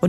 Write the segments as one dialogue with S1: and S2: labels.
S1: och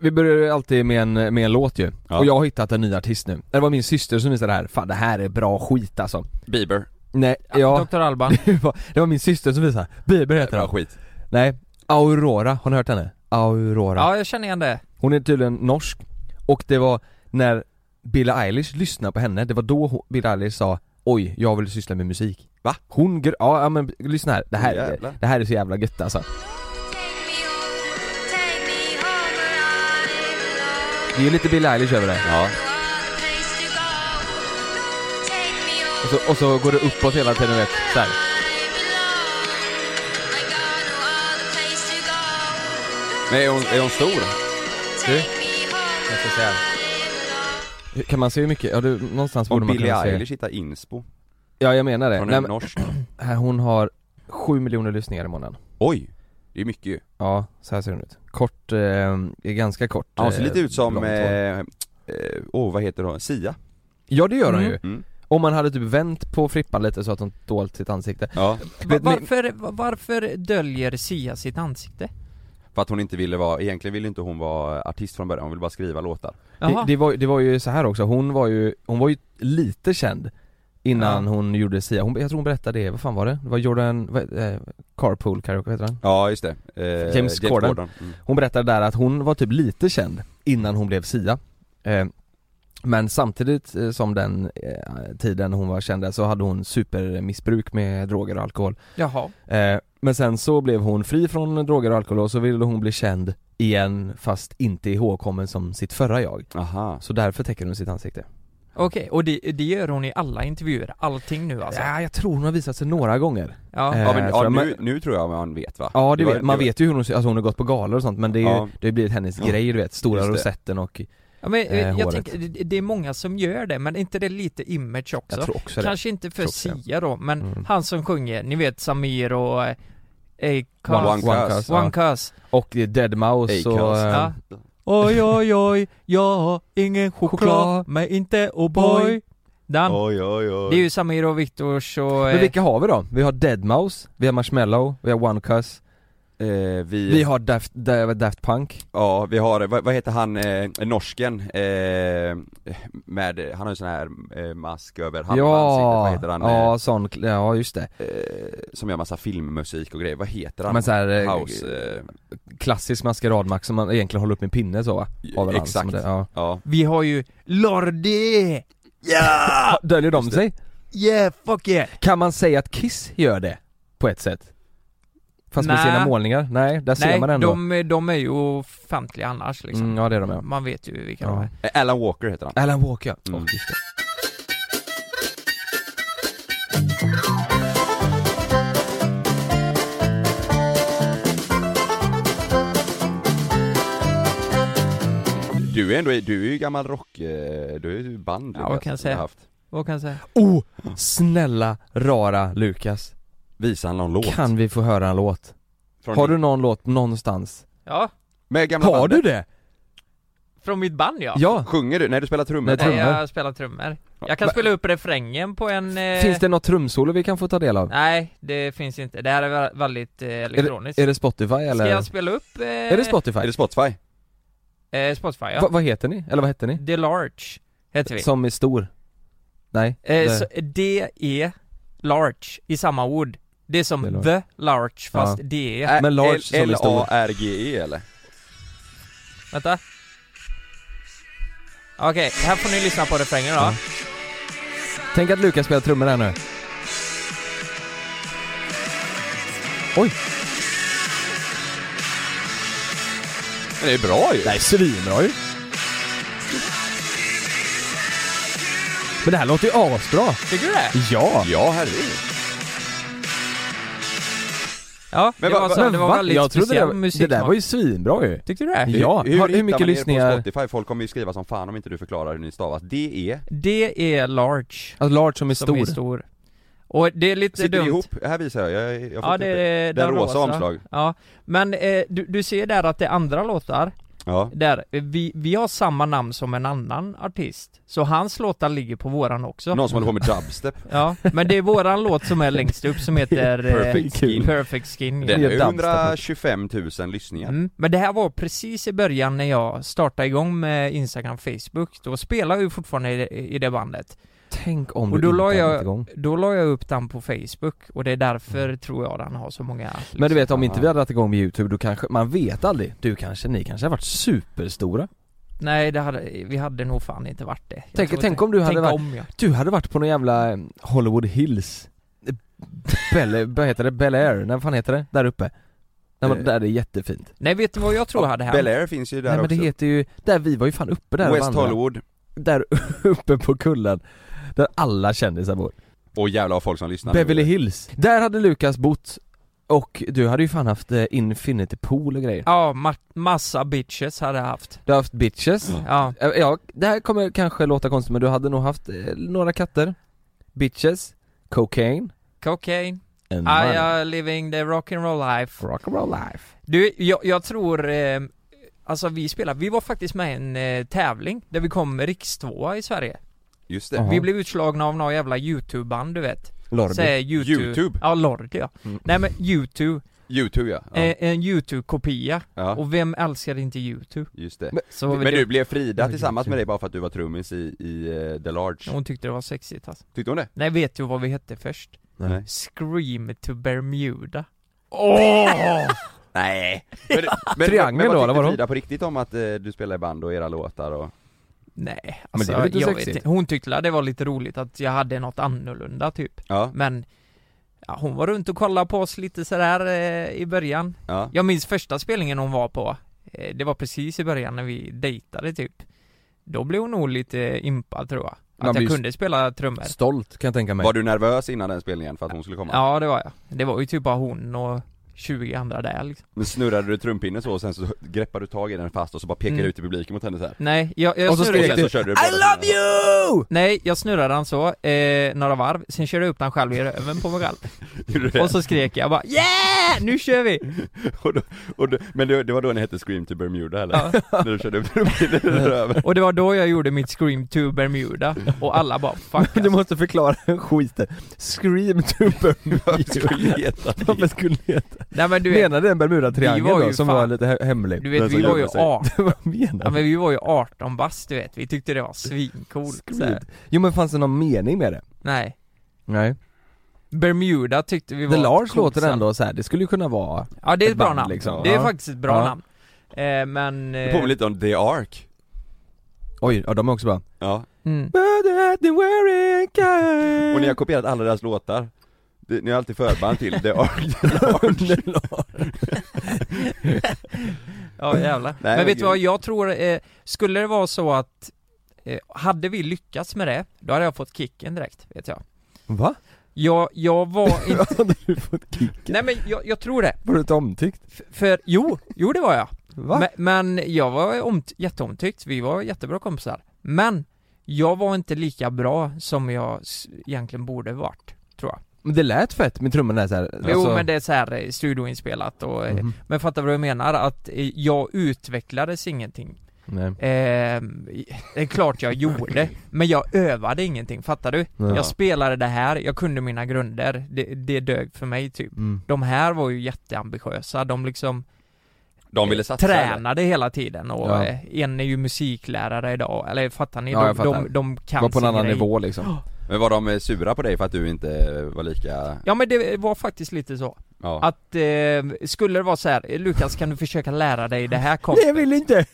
S2: Vi börjar ju alltid med en, med en låt ju,
S3: Ja.
S2: och jag har hittat en ny artist nu. Det var min syster som visade det här, fan det här är bra skit alltså
S3: Bieber.
S2: Nej, ja,
S4: Dr. Alban.
S2: det, var, det var min syster som visade, Bieber heter
S3: Bra
S2: han
S3: skit.
S2: Nej, Aurora, har ni hört henne? Aurora
S4: Ja, jag känner igen det.
S2: Hon är tydligen norsk, och det var när Billie Eilish lyssnade på henne, det var då hon, Billie Eilish sa Oj, jag vill syssla med musik
S3: Va?
S2: Hon, gr- ja ja, men lyssna här, det här,
S3: Jävlar.
S2: det här är så jävla gött alltså Det är lite Billie Eilish över det
S3: Ja.
S2: Och så, och så går det uppåt hela tiden vet, så här.
S3: Men är hon, är hon stor?
S4: Jag ska säga.
S2: Hur- Kan man se hur mycket? Ja du, någonstans borde
S3: Om
S2: man
S3: Billie
S2: kunna se
S3: Eilish hittar inspo.
S2: Ja jag menar det,
S3: Hon
S2: Nej,
S3: är
S2: men,
S3: norsk.
S2: här, hon har 7 miljoner lyssningar i månaden
S3: Oj! Det är mycket ju.
S2: Ja, så här ser hon ut Kort, eh, är ganska kort
S3: Ja, Hon ser
S2: eh,
S3: lite ut som,
S2: långt
S3: eh,
S2: hår.
S3: eh, åh vad heter hon? Sia?
S2: Ja det gör hon
S4: Mm.
S2: ju,
S3: Mm.
S2: om man hade typ vänt på frippan lite så att hon dolt sitt ansikte
S3: Ja.
S4: Va-
S2: Vet ni-
S4: Varför, va- varför döljer Sia sitt ansikte?
S3: För att hon inte ville vara, egentligen ville inte hon vara artist från början, hon ville bara skriva låtar.
S2: det,
S4: Jaha.
S2: det, var, det var ju så här också, hon var ju, hon var ju lite känd Innan hon gjorde Sia, hon, jag tror hon berättade det, vad fan var det? Det var Jordan, vad, eh, Carpool Karaoke heter han?
S3: Ja just det. Eh,
S2: James Corden.
S3: Mm.
S2: Hon berättade där att hon var typ lite känd innan hon blev Sia eh, Men samtidigt eh, som den eh, tiden hon var känd där så hade hon supermissbruk med droger och alkohol
S4: Jaha.
S2: eh, Men sen så blev hon fri från droger och alkohol och så ville hon bli känd igen fast inte ihågkommen som sitt förra jag
S3: Aha.
S2: Så därför täcker hon sitt ansikte
S4: Okej, och det, det gör hon i alla intervjuer, allting nu alltså?
S2: Ja, jag tror hon har visat sig några gånger
S4: Ja.
S2: Eh,
S3: Ja, men,
S2: tror
S3: ja
S2: jag
S3: nu, nu tror jag man vet va?
S2: Ja det
S3: var-
S2: vet, man
S3: var-
S2: vet ju hur hon, ser- alltså hon har gått på galor och sånt men det är ju,
S3: Ja.
S2: det har ju blivit hennes
S3: Ja.
S2: grej du vet, stora
S3: Just det.
S2: rosetten och
S4: Ja, men, eh,
S2: eh,
S4: jag
S2: håret.
S4: tänker, det, det är många som gör det, men är inte det lite image
S2: jag
S4: också?
S2: tror också det
S4: Kanske inte för
S2: Tror också det.
S4: Sia då, men
S2: Mm.
S4: han som sjunger, ni vet Samir och... Eh, eh,
S3: One,
S4: Kaz-
S2: One
S3: Cuz.
S2: Cuz,
S4: One
S2: ja.
S4: Cuz.
S2: Och Deadmau5
S3: Acast.
S2: och... eh,
S4: Ja. Oj oj oj, jag har ingen choklad,
S2: Choklad.
S4: men inte O'boy. Dan.
S3: Oj oj oj.
S4: Det är ju Samir och Viktors och...
S2: Men
S4: eh,
S2: vilka har vi då? Vi har Deadmau5, vi har Marshmallow, vi har One Cuz,
S3: eh, vi,
S2: vi har Daft, Da- Daft Punk
S3: ja vi har, vad, vad heter han, eh, norsken, eh, med, han har ju sån här eh, mask över halva ansiktet, vad heter han? eh,
S2: ja sån, ja just det
S3: eh, som gör massa filmmusik och grejer, vad heter han?
S2: Men så här, eh,
S3: House, eh,
S2: klassisk maskeradmask som man egentligen håller upp med pinne så va? Har väl han som
S3: exakt.
S2: det, ja.
S3: ja.
S4: eh, Vi har ju Lordi!
S2: Ah, Döljer de
S3: Just
S2: sig?
S4: Yeah, fuck yeah!
S2: Kan man säga att Kiss gör det? På ett sätt? Fast med
S4: Nej.
S2: sina målningar? Nej, där ser
S4: Nej,
S2: man ändå
S4: de, de är ju offentliga annars liksom.
S2: mm, Ja det är de ja
S4: Man vet ju vilka
S2: Ja.
S4: de är.
S3: Eh, Alan Walker heter han.
S2: Alan Walker ja.
S3: Mm.
S2: Åh, just det.
S3: Du är ändå, du är ju gammal rock, eh, du är ju band
S4: Ja, vad kan jag säga?
S3: haft.
S4: Vad kan jag säga?
S2: Oh! Snälla, rara Lukas
S3: Visa han någon låt?
S2: Kan vi få höra en låt?
S3: Från
S2: Har du någon låt någonstans?
S4: Ja,
S3: Med gamla
S2: Har du
S3: bandet?
S2: det?
S4: från mitt band ja.
S2: Ja!
S3: Sjunger du? Nej du spelar trummor?
S2: Nej,
S4: Nej,
S2: trummor.
S4: jag spelar trummor. Jag kan
S2: Va-
S4: spela upp refrängen på en... Eh...
S2: Finns det något trumsolo vi kan få ta del av?
S4: Nej, det finns inte. Det här är vä- väldigt eh, elektroniskt.
S2: Är det Spotify eller?
S4: Ska jag spela upp... Eh...
S2: Är det Spotify?
S3: Är det Spotify?
S4: eh, Spotify ja.
S2: Va, vad heter ni? Eller vad hette ni?
S4: The Large heter vi.
S2: Som är stor? Nej?
S4: eh,
S2: det-
S4: så, det är Large i samma ord. Det är som
S2: The
S4: The
S2: Large.
S4: Large, fast
S2: Ja.
S4: det är...
S3: Ä-
S2: Men large
S3: Eh,
S2: som är
S3: E,
S2: stor.
S3: L-A-R-G-E eller?
S4: Vänta. Okej, här får ni lyssna på refrängen då.
S2: Ja. Tänk att Lukas spelar trummor här nu. Oj!
S3: Men det är bra ju!
S2: Det här är svinbra ju! Men det här låter ju asbra!
S4: Tycker du det?
S2: Ja!
S3: Ja, herregud.
S4: Ja,
S3: Men
S4: det
S3: va-
S4: var, så,
S3: va-
S4: det var väldigt
S2: jag trodde
S4: speciell
S2: det,
S4: musik.
S2: det där var ju svinbra ju!
S4: Tyckte du det?
S2: Ja, hur, hur,
S3: hittar
S2: mycket
S3: man er på
S2: lyssningar?
S3: Spotify? Folk kommer ju skriva som fan om inte du förklarar hur ni stavar. Det är...
S4: Det är large.
S2: Alltså Lars som är
S4: Som
S2: stor.
S4: är stor. Och det är lite
S3: Sitter
S4: dumt.
S3: ihop? Här visar jag, jag, jag får
S4: Ja, det är
S3: Den
S4: den
S3: rosa omslag.
S4: Ja, men eh, du, du ser där att det är andra låtar.
S3: Ja.
S4: Där, eh, vi, vi har samma namn som en annan artist. Så hans låtar ligger på våran också.
S3: Någon som håller på med dubstep.
S4: Ja, men det är våran låt som är längst upp som heter eh,
S2: Perfect Skin.
S4: Perfect Skin.
S3: Den har ju
S2: dubstep.
S3: 125 000 lyssningar.
S4: Mm. Men det här var precis i början när jag startade igång med Instagram Facebook. Då spelade jag ju fortfarande i det, i det bandet.
S2: Tänk om
S4: Och
S2: du
S4: då
S2: inte
S4: la
S2: hade
S4: jag-
S2: jag... igång. Mm.
S4: Då la jag upp den på Facebook och det är därför tror jag den har så många liksom.
S2: Men du vet om inte vi hade dragit igång med youtube då kanske, man vet aldrig, du kanske, ni kanske har varit superstora
S4: Nej, det hade, vi hade nog fan inte varit det Jag
S2: Tänk-
S4: tror
S2: tänk om du hade
S4: tänk
S2: varit-
S4: om jag.
S2: Du hade varit på någon jävla eh, Hollywood Hills Eh, Bel, vad heter det? Bel Air? När fan heter det? Där uppe? Där, man,
S3: Eh.
S2: där det är jättefint
S4: Nej, vet du vad jag tror
S3: Ja,
S4: hade hänt?
S3: Bel Air finns ju där
S2: Nej men
S3: också.
S2: det heter ju, där vi var ju fan uppe där och
S3: West
S2: vandrade.
S3: Hollywood.
S2: Där uppe på kullen Där alla kändisar bor
S3: Och jävlar vad folk som lyssnar nu.
S2: Beverly Hills Där hade Lukas bott och du hade ju fan haft eh, infinity pool och grejer
S4: Ja, ma- massa bitches hade jag haft.
S2: Du har haft bitches
S4: Ja,
S2: Eh, Ja, det här kommer kanske låta konstigt men du hade nog haft eh, några katter Bitches, cocaine,
S4: cocaine,
S2: and
S4: I
S2: money
S4: are living the rock'n'roll life.
S2: Rock'n'roll life
S4: Du, jag, jag tror, eh, alltså vi spelade, vi var faktiskt med i en eh, tävling där vi kom rikstvåa i Sverige.
S3: Just det.
S2: Ja.
S4: Vi blev utslagna av några jävla youtube-band du vet.
S2: Lordi
S4: Säger YouTube.
S3: YouTube?
S4: Ja, Lordi ja.
S2: Mm.
S4: Nej men YouTube,
S3: YouTube ja. Ja,
S4: eh, en youtube-kopia.
S3: ja
S4: Och vem älskar inte youtube?
S3: just det.
S2: Men-
S4: Så
S3: Men du blev Frida
S2: Ja,
S3: tillsammans
S2: YouTube.
S3: med dig bara för att du var trummis i, i eh, The Large.
S4: Hon tyckte det var sexigt alltså.
S3: Tyckte hon det?
S4: Nej, vet du vad vi hette först?
S3: Nej.
S4: Scream to Bermuda.
S3: Nej! Men, men,
S2: Triangeln
S3: men,
S2: då,
S3: vad
S2: eller vadå?
S3: tyckte Frida på riktigt om att eh, du spelar i band och era låtar och...
S4: Nej,
S2: Men
S4: alltså,
S2: det är väl inte
S4: jag
S2: sexigt?
S4: vet, inte. hon tyckte att det var lite roligt att jag hade något annorlunda typ.
S3: Ja,
S4: Men ja, hon var runt och kollade på oss lite sådär eh, i början.
S3: ja.
S4: Jag minns första spelningen hon var på. Eh, det var precis i början när vi dejtade typ. Då blev hon nog lite impad tror jag.
S2: Man
S4: Att
S2: blir
S4: jag
S2: ju
S4: kunde spela trummor.
S2: Stolt kan jag tänka mig
S3: Var du nervös innan den spelningen för att hon skulle komma?
S4: Ja, det var jag. Det var ju typ bara hon och 20 andra där liksom.
S3: Men snurrade du trumpinnen så och sen så greppade du tag i den fast och så bara pekade du ut i publiken mot henne så här.
S4: Nej, jag, jag
S2: Och så
S3: Mm. Och
S4: snurrade
S3: sen så körde du
S2: I love you!
S4: Nej, jag snurrade han så, eh, några varv, sen körde jag upp den själv i röven på mig själv.
S3: Gjorde du
S4: Och
S3: det?
S4: så skrek jag bara 'Yeah! Nu kör vi!'
S3: Och då, och då, men det, det var då ni hette Scream to Bermuda eller?
S4: Ja.
S3: När du körde upp trumpinnen i röven?
S4: Och det var då jag gjorde mitt Scream to Bermuda, och alla bara 'Fuck
S2: Du
S4: alltså.
S2: måste förklara skiten Scream to Bermuda
S3: heta
S2: Varför skulle det heta?
S4: Nej men du vet,
S2: Menar du den
S4: vi var
S2: Bermuda-triangeln
S4: ju
S2: då som
S4: fan-
S2: var lite he- hemlig?
S4: Typ. du
S3: den
S4: vet
S3: som
S4: vi var
S3: gömmer
S4: ju
S3: sig.
S4: 18,
S2: Vad
S4: ja,
S2: menar du?
S4: men vi var ju 18 bast du vet, vi tyckte det var svincoolt så här.
S2: Scream. Jo men fanns det någon mening med det?
S4: Nej
S2: Nej
S4: Bermuda tyckte vi var
S2: The Lars
S4: coolt
S2: låter
S4: sen.
S2: ändå så här. det skulle ju kunna vara
S4: Ja det är
S2: ett
S4: ett bra
S2: band,
S4: namn,
S2: liksom.
S4: det är
S2: Ja.
S4: faktiskt ett bra
S2: Ja.
S4: namn eh, Men...
S3: Det
S4: Eh,
S3: påminner lite om The Ark
S2: Oj, ja de är också bra
S3: Ja,
S4: mm.
S3: och ni har kopierat alla deras låtar Det- Ni har alltid förband till The Ark, The Large
S4: Ja jävlar.
S3: Nej, men
S4: men vet du
S3: gud.
S4: vad, jag tror, eh, skulle det vara så att eh, hade vi lyckats med det, då hade jag fått kicken direkt, vet jag.
S2: Va?
S4: Jag, jag var inte,
S2: Hade du fått kicken?
S4: nej men jag, jag tror det.
S2: Var du inte omtyckt?
S4: F- för, jo, jo det var jag.
S2: Va?
S4: Men, men jag var omt, jätteomtyckt, vi var jättebra kompisar. Men, jag var inte lika bra som jag s- egentligen borde varit, tror jag.
S2: Men det lät fett med trummorna där så här. Alltså-
S4: Jo men det är så här eh, studioinspelat och, eh,
S2: Mhm.
S4: men fattar vad jag menar? Att eh, jag utvecklades ingenting.
S2: Nej.
S4: Eh, det är klart jag gjorde, men jag övade ingenting, fattar du?
S2: Ja.
S4: Jag spelade det här, jag kunde mina grunder, det, det dög för mig typ
S2: Mm.
S4: De här var ju jätteambitiösa, de liksom
S3: De ville
S4: eh,
S3: satsa
S4: tränade hela tiden och
S2: Ja.
S4: eh, en är ju musiklärare idag, eller fattar ni?
S2: Ja,
S4: de,
S2: jag fattar.
S4: de, de kan
S2: Var på en
S4: sin
S2: annan
S4: grej.
S2: nivå liksom
S3: Men var de eh, sura på dig för att du inte eh, var lika,
S4: Ja men det var faktiskt lite så.
S3: ja.
S4: Att, eh, skulle det vara så här, Lukas kan du försöka lära dig det här kostet? Jag vill inte!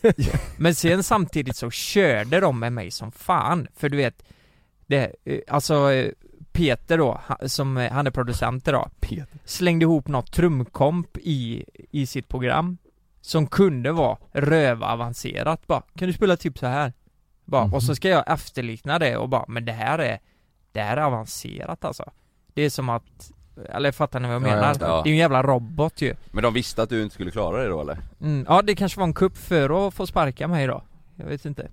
S4: Men sen samtidigt så körde de med mig som fan, för du vet, det, eh, alltså eh, Peter då, ha- som, eh, han är producent idag,
S2: Peter.
S4: slängde ihop något trumkomp i, i sitt program som kunde vara rövavancerat bara, kan du spela typ så här? Bara, och
S2: Mhm.
S4: så ska jag efterlikna det och bara, men det här är, det här är avancerat alltså. Det är som att, eller fattar ni vad jag
S2: Ja, ja,
S4: menar?
S3: ja.
S4: Det är ju en jävla robot ju.
S3: Men de visste att du inte skulle klara det då eller?
S4: Mm, ja det kanske var en kupp för att få sparka mig då. Jag vet inte.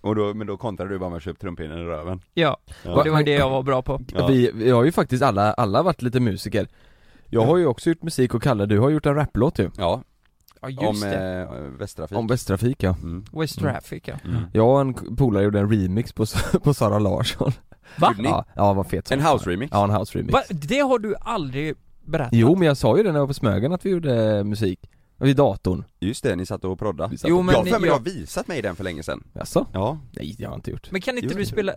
S3: Och då, men då kontrade du bara med att köpa trumpinnen i röven
S4: Ja,
S3: Ja.
S4: det var ju det jag var bra på.
S3: Ja.
S2: Vi, vi har ju faktiskt alla, alla varit lite musiker Jag har ju också gjort musik och Kalle du har gjort en raplåt ju
S3: Ja,
S4: Ja
S3: om
S4: just det.
S3: eh, Västtrafik
S2: Om Västtrafik ja
S3: mm.
S4: West Traffic ja.
S3: Mm.
S2: Jag och en k- polare gjorde en remix på, S- på Sara Larsson
S4: Va?
S3: Gjorde ni?
S2: Ja, ja vad fet som
S3: En
S2: fan.
S3: house-remix?
S2: Ja en house remix
S4: Va? Det har du aldrig berättat?
S2: Jo men jag sa ju det när jag var på Smögen att vi gjorde eh, musik Vid datorn
S3: Just det, ni satt och prodda
S2: Vi satt
S4: Jo
S2: och-
S4: men,
S3: Jag har för mig du har
S4: jag,
S3: visat mig den för länge sedan
S2: Jaså?
S3: Ja,
S2: Nej det har jag inte gjort
S4: men kan inte
S3: Jo,
S4: du
S3: det-
S4: spela,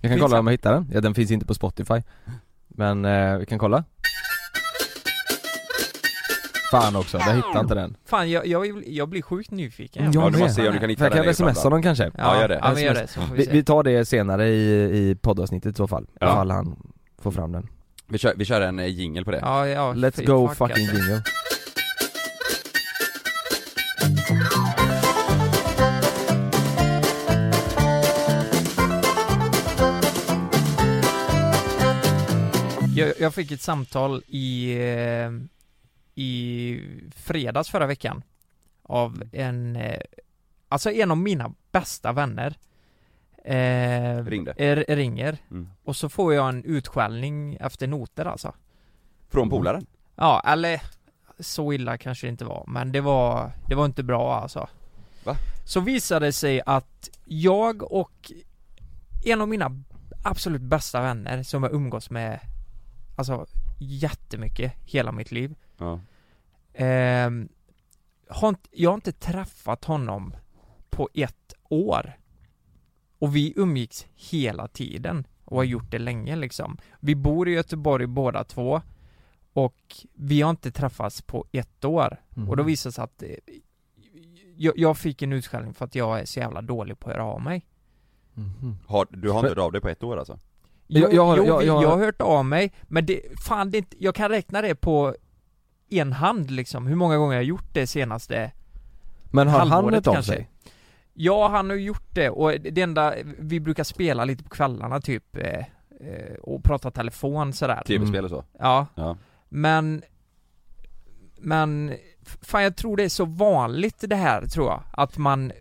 S2: Jag kan kolla om jag hittar den, ja den finns inte på Spotify Men eh, vi kan kolla Fan också, jag hittar inte den
S4: fan jag, jag, jag blir sjukt nyfiken.
S2: Ja,
S3: ja
S2: det-
S3: du måste se om du kan hitta
S2: Jag
S3: den
S2: kan
S3: i
S2: smsa
S3: framtiden.
S2: dem kanske
S3: Ja, gör det.
S4: Ja men gör det så får vi
S2: Vi,
S4: se.
S2: vi tar det senare i, i poddavsnittet i så fall,
S3: Ja.
S2: ifall han får fram den
S3: vi, kör, vi kör en eh, jingle på det
S4: Ja, ja,
S2: Let's
S4: fy
S2: go
S4: fuck,
S2: fucking
S4: alltså.
S2: jingle
S4: jag, jag fick ett samtal i, eh, i fredags förra veckan av en, eh, alltså en av mina bästa vänner eh,
S3: Ringde.
S4: r- ringer
S3: Mm.
S4: och så får jag en utskällning efter noter alltså.
S3: Från polaren?
S4: Ja, eller så illa kanske det inte var, men det var, det var inte bra alltså.
S3: Va?
S4: Så visade det sig att jag och en av mina absolut bästa vänner som jag umgås med, alltså jättemycket hela mitt liv.
S3: Ja
S4: ehm, har inte, jag har inte träffat honom på ett år. Och vi umgicks hela tiden och har gjort det länge liksom. Vi bor i Göteborg båda två och vi har inte träffats på ett år. Och
S2: Mm.
S4: då visade det sig att eh, jag, jag fick en utskällning för att jag är så jävla dålig på att höra av mig.
S2: Mhm.
S3: har, Du har inte hört av dig på ett år alltså?
S4: Jo,
S2: Jag-
S4: jag,
S2: jag har-
S4: jo,
S2: jag-
S4: vi-
S2: jag-
S4: jag, har hört av mig, men det, fan det är inte, jag kan räkna det på en hand liksom, hur många gånger jag har gjort det senaste
S2: Men har han
S4: halvåret
S2: hört av
S4: kanske.
S2: sig?
S4: Ja, han har ju gjort det och det enda, vi brukar spela lite på kvällarna typ eh, eh, och prata telefon sådär.
S3: Tv-spel och så?
S4: Ja,
S3: Ja
S4: men Men f- fan jag tror det är så vanligt det här tror jag, att man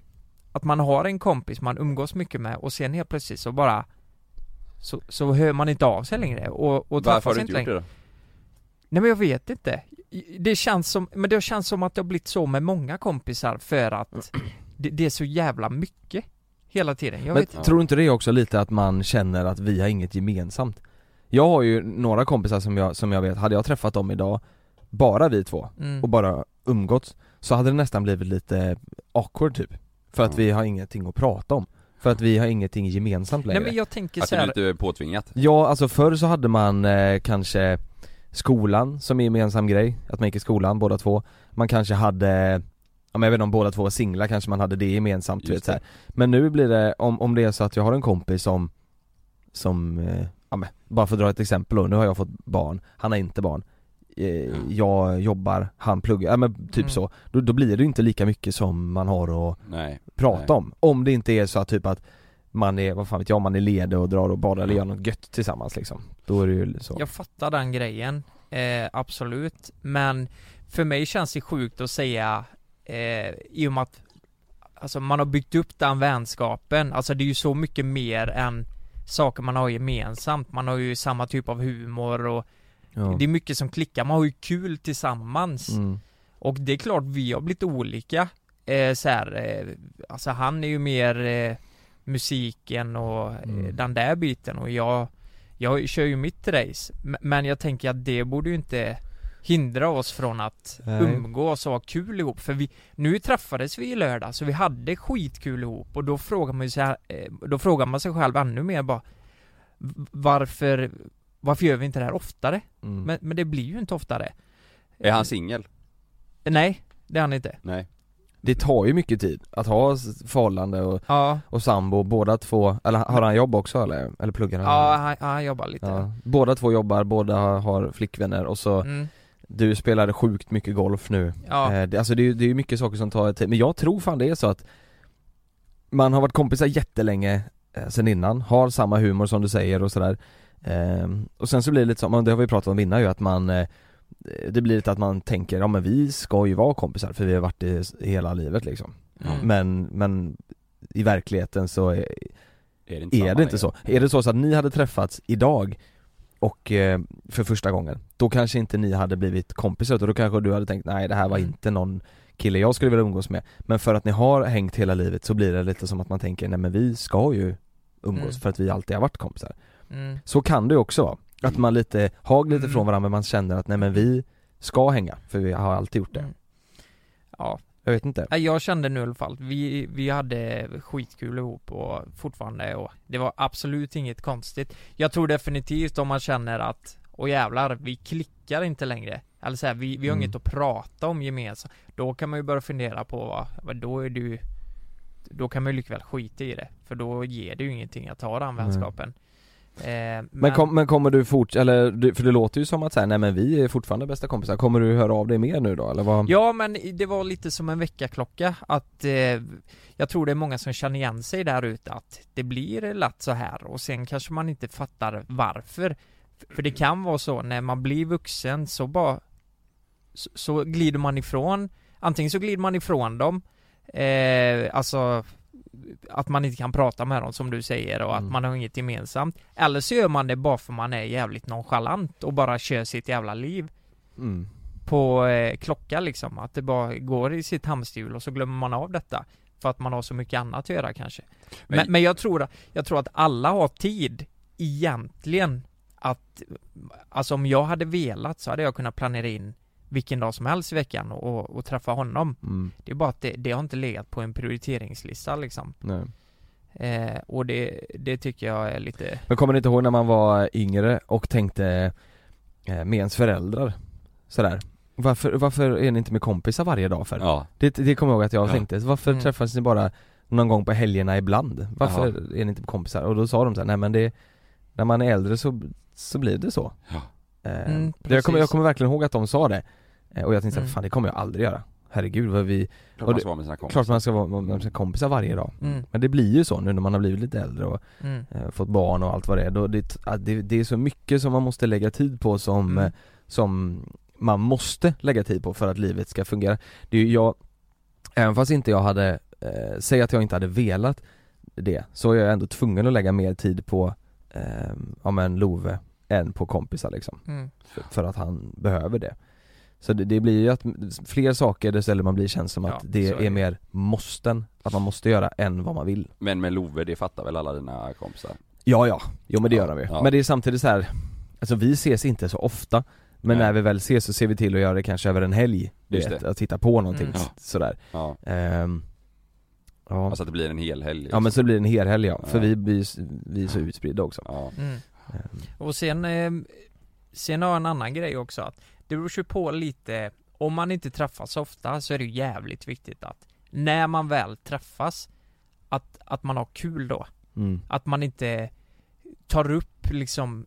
S4: att man har en kompis man umgås mycket med och sen helt plötsligt så bara så, så hör man inte av sig längre och, och
S3: Varför har
S4: träffas
S3: du inte
S4: inte
S3: gjort
S4: längre.
S3: det då?
S4: Nej men jag vet inte. I- Det känns som, men det känns som att det har blivit så med många kompisar för att det, det är så jävla mycket hela tiden. Jag
S2: Men
S4: vet
S2: tror du inte det också lite att man känner att vi har inget gemensamt? Jag har ju några kompisar som jag, som jag vet, hade jag träffat dem idag, bara vi två,
S4: Mm.
S2: och bara umgåtts, så hade det nästan blivit lite awkward typ För att
S3: Ja.
S2: vi har ingenting att prata om, för att vi har ingenting gemensamt längre
S4: Nej men jag tänker
S3: Att
S4: så
S3: du
S4: här,
S3: inte är eh, påtvingat?
S2: Ja, alltså förr så hade man eh, kanske skolan som är gemensam grej, att man gick i skolan båda två Man kanske hade, ja, men jag vet inte om båda två var singlar kanske man hade det gemensamt du
S3: Just
S2: vet, så här. Men nu blir det, om, om det är så att jag har en kompis som, som, eh, ja, men, bara för att dra ett exempel då, nu har jag fått barn, han har inte barn eh, jag jobbar, han pluggar, ja, men typ
S4: Mm.
S2: så. Då, då blir det inte lika mycket som man har att
S3: Nej
S2: prata
S3: Nej.
S2: om. Om det inte är så att typ att man är, vad fan vet jag, man är ledig och drar och badar eller gör något gött tillsammans liksom. Då är det ju så.
S4: jag fattar den grejen, eh, absolut. Men för mig känns det sjukt att säga, eh, i och med att alltså, man har byggt upp den vänskapen, alltså det är ju så mycket mer än saker man har gemensamt. Man har ju samma typ av humor och
S2: Ja.
S4: det är mycket som klickar, man har ju kul tillsammans.
S2: Mm.
S4: Och det är klart vi har blivit olika eh, så här, eh, Alltså han är ju mer eh, musiken och eh,
S2: Mm.
S4: den där biten och jag Jag kör ju mitt race M- Men jag tänker att det borde ju inte Hindra oss från att
S2: Nej.
S4: umgås och ha kul ihop för vi Nu träffades vi i lördag så vi hade skitkul ihop och då frågar man ju så här, eh, Då frågar man sig själv ännu mer bara v- varför, varför gör vi inte det här oftare?
S2: Mm.
S4: Men, men det blir ju inte oftare.
S3: Är han singel?
S4: Nej, det är han inte.
S3: Nej.
S2: Det tar ju mycket tid att ha s- förhållande och,
S4: Ja,
S2: och sambo, båda två, eller har han jobb också eller? Eller pluggar han?
S4: ja han, han jobbar lite.
S2: Ja. Båda två jobbar, båda har, har flickvänner och så,
S4: Mm.
S2: du spelar sjukt mycket golf nu
S4: Ja. Mm,
S2: Eh, det, alltså det, är ju- det är ju mycket saker som tar tid, men jag tror fan det är så att Man har varit kompisar jättelänge eh, sen innan, har samma humor som du säger och sådär eh, Och sen så blir det lite så, men det har vi pratat om innan ju att man eh, Det blir lite att man tänker, ja men vi ska ju vara kompisar för vi har varit det hela livet liksom
S4: Mm.
S2: Men, men i verkligheten så är,
S3: Är det inte,
S2: är
S3: samma
S2: det inte
S3: längre?
S2: så. Är det så, så att ni hade träffats idag och eh, för första gången, då kanske inte ni hade blivit kompisar utan då kanske du hade tänkt nej det här var
S4: Mm.
S2: inte någon kille jag skulle vilja umgås med. Men för att ni har hängt hela livet så blir det lite som att man tänker nej men vi ska ju umgås
S4: Mm.
S2: för att vi alltid har varit kompisar.
S4: Mm.
S2: Så kan det ju också vara. Att man lite, hag lite
S4: Mm.
S2: från varandra men man känner att nej men vi ska hänga för vi har alltid gjort det.
S4: Mm. Ja,
S2: Jag vet inte.
S4: Nej, jag kände nu i alla fall, vi, vi hade skitkul ihop och fortfarande och det var absolut inget konstigt. Jag tror definitivt om man känner att, åh jävlar, vi klickar inte längre. Eller så här, vi, vi har
S2: Mm.
S4: inget att prata om gemensamt. Då kan man ju börja fundera på, va, va, då är du då kan man ju lika väl skita i det, för då ger det ju ingenting att ha den
S2: Nej.
S4: vänskapen. Eh, men
S2: Men, kom, men kommer du fort, eller du, för det låter ju som att säga nej men vi är fortfarande bästa kompisar, kommer du höra av dig mer nu då eller vad?
S4: Ja men det var lite som en väckarklocka att eh, Jag tror det är många som känner igen sig där ute att det blir lätt så här och sen kanske man inte fattar varför För det kan vara så när man blir vuxen så bara Så, så glider man ifrån Antingen så glider man ifrån dem eh, Alltså Att man inte kan prata med dem som du säger och att
S2: Mm.
S4: man har inget gemensamt Eller så gör man det bara för man är jävligt nonchalant och bara kör sitt jävla liv
S2: Mm.
S4: på eh, klocka liksom, att det bara går i sitt hamsterhjul och så glömmer man av detta för att man har så mycket annat att göra kanske. Men,
S3: Men-
S4: men, jag, tror, jag tror att alla har tid egentligen att, alltså om jag hade velat så hade jag kunnat planera in vilken dag som helst i veckan och, och, och träffa honom.
S2: Mm.
S4: Det är bara att det, det har inte legat på en prioriteringslista liksom.
S2: Nej.
S4: Eh, och det, det tycker jag är lite,
S2: Men kommer ni inte ihåg när man var yngre och tänkte eh, med ens föräldrar? Sådär varför, varför är ni inte med kompisar varje dag för?
S3: Ja.
S2: Det, det kommer jag ihåg att jag
S3: Ja.
S2: tänkte, varför
S4: Mm.
S2: träffas ni bara någon gång på helgerna ibland? Varför är ni inte kompisar? Och då sa de så här, nej men det När man är äldre så, så blir det så
S3: Ja.
S2: eh,
S4: Mm,
S2: det- jag, kommer, jag
S4: precis.
S2: kommer verkligen ihåg att de sa det Eh, Och jag tänkte
S4: Mm.
S2: mm. fan det kommer jag aldrig göra Herregud vad vi,
S3: Klart
S2: Och
S3: man
S2: det-
S3: ska vara med sina kompisar.
S2: klart man ska vara vara med sina kompisar varje dag
S4: Mm.
S2: Men det blir ju så nu när man har blivit lite äldre och
S4: mm,
S2: eh, fått barn och allt vad det är, då det, att det, det är så mycket som man måste lägga tid på som,
S4: Mm.
S2: eh, som man måste lägga tid på för att livet ska fungera. Det är ju jag, även fast inte jag hade, eh, säg att jag inte hade velat det, så är jag ändå tvungen att lägga mer tid på, eh, ja men Love, än på kompisar liksom,
S4: mm,
S2: för, för att han behöver det. Så det, det blir ju att fler saker desto äldre man blir känns som
S4: Ja,
S2: att det
S4: så är
S2: är,
S4: det.
S2: mer måsten, att man måste göra än vad man vill.
S3: Men med Love, det fattar väl alla dina kompisar?
S2: Ja, ja. Jo men det
S3: Ja,
S2: gör de ju.
S3: ja.
S2: Men det är samtidigt så här. alltså vi ses inte så ofta, men
S3: Nej.
S2: när vi väl ses så ser vi till att göra det kanske över en helg. Du
S3: Just
S2: vet,
S3: det.
S2: att titta på någonting
S4: Mm.
S2: s- sådär.
S3: Ja.
S2: Ehm, ja.
S3: Alltså att det blir en hel helg liksom.
S2: ja men så blir det en helhelg ja, för
S3: Ja.
S2: vi, blir s- vi är så utspridda också.
S3: ja.
S4: mm.
S2: Ehm,
S4: Och sen, eh, sen har jag en annan grej också att det beror ju på lite, om man inte träffas så ofta så är det ju jävligt viktigt att när man väl träffas, att, att man har kul då.
S2: Mm.
S4: Att man inte tar upp liksom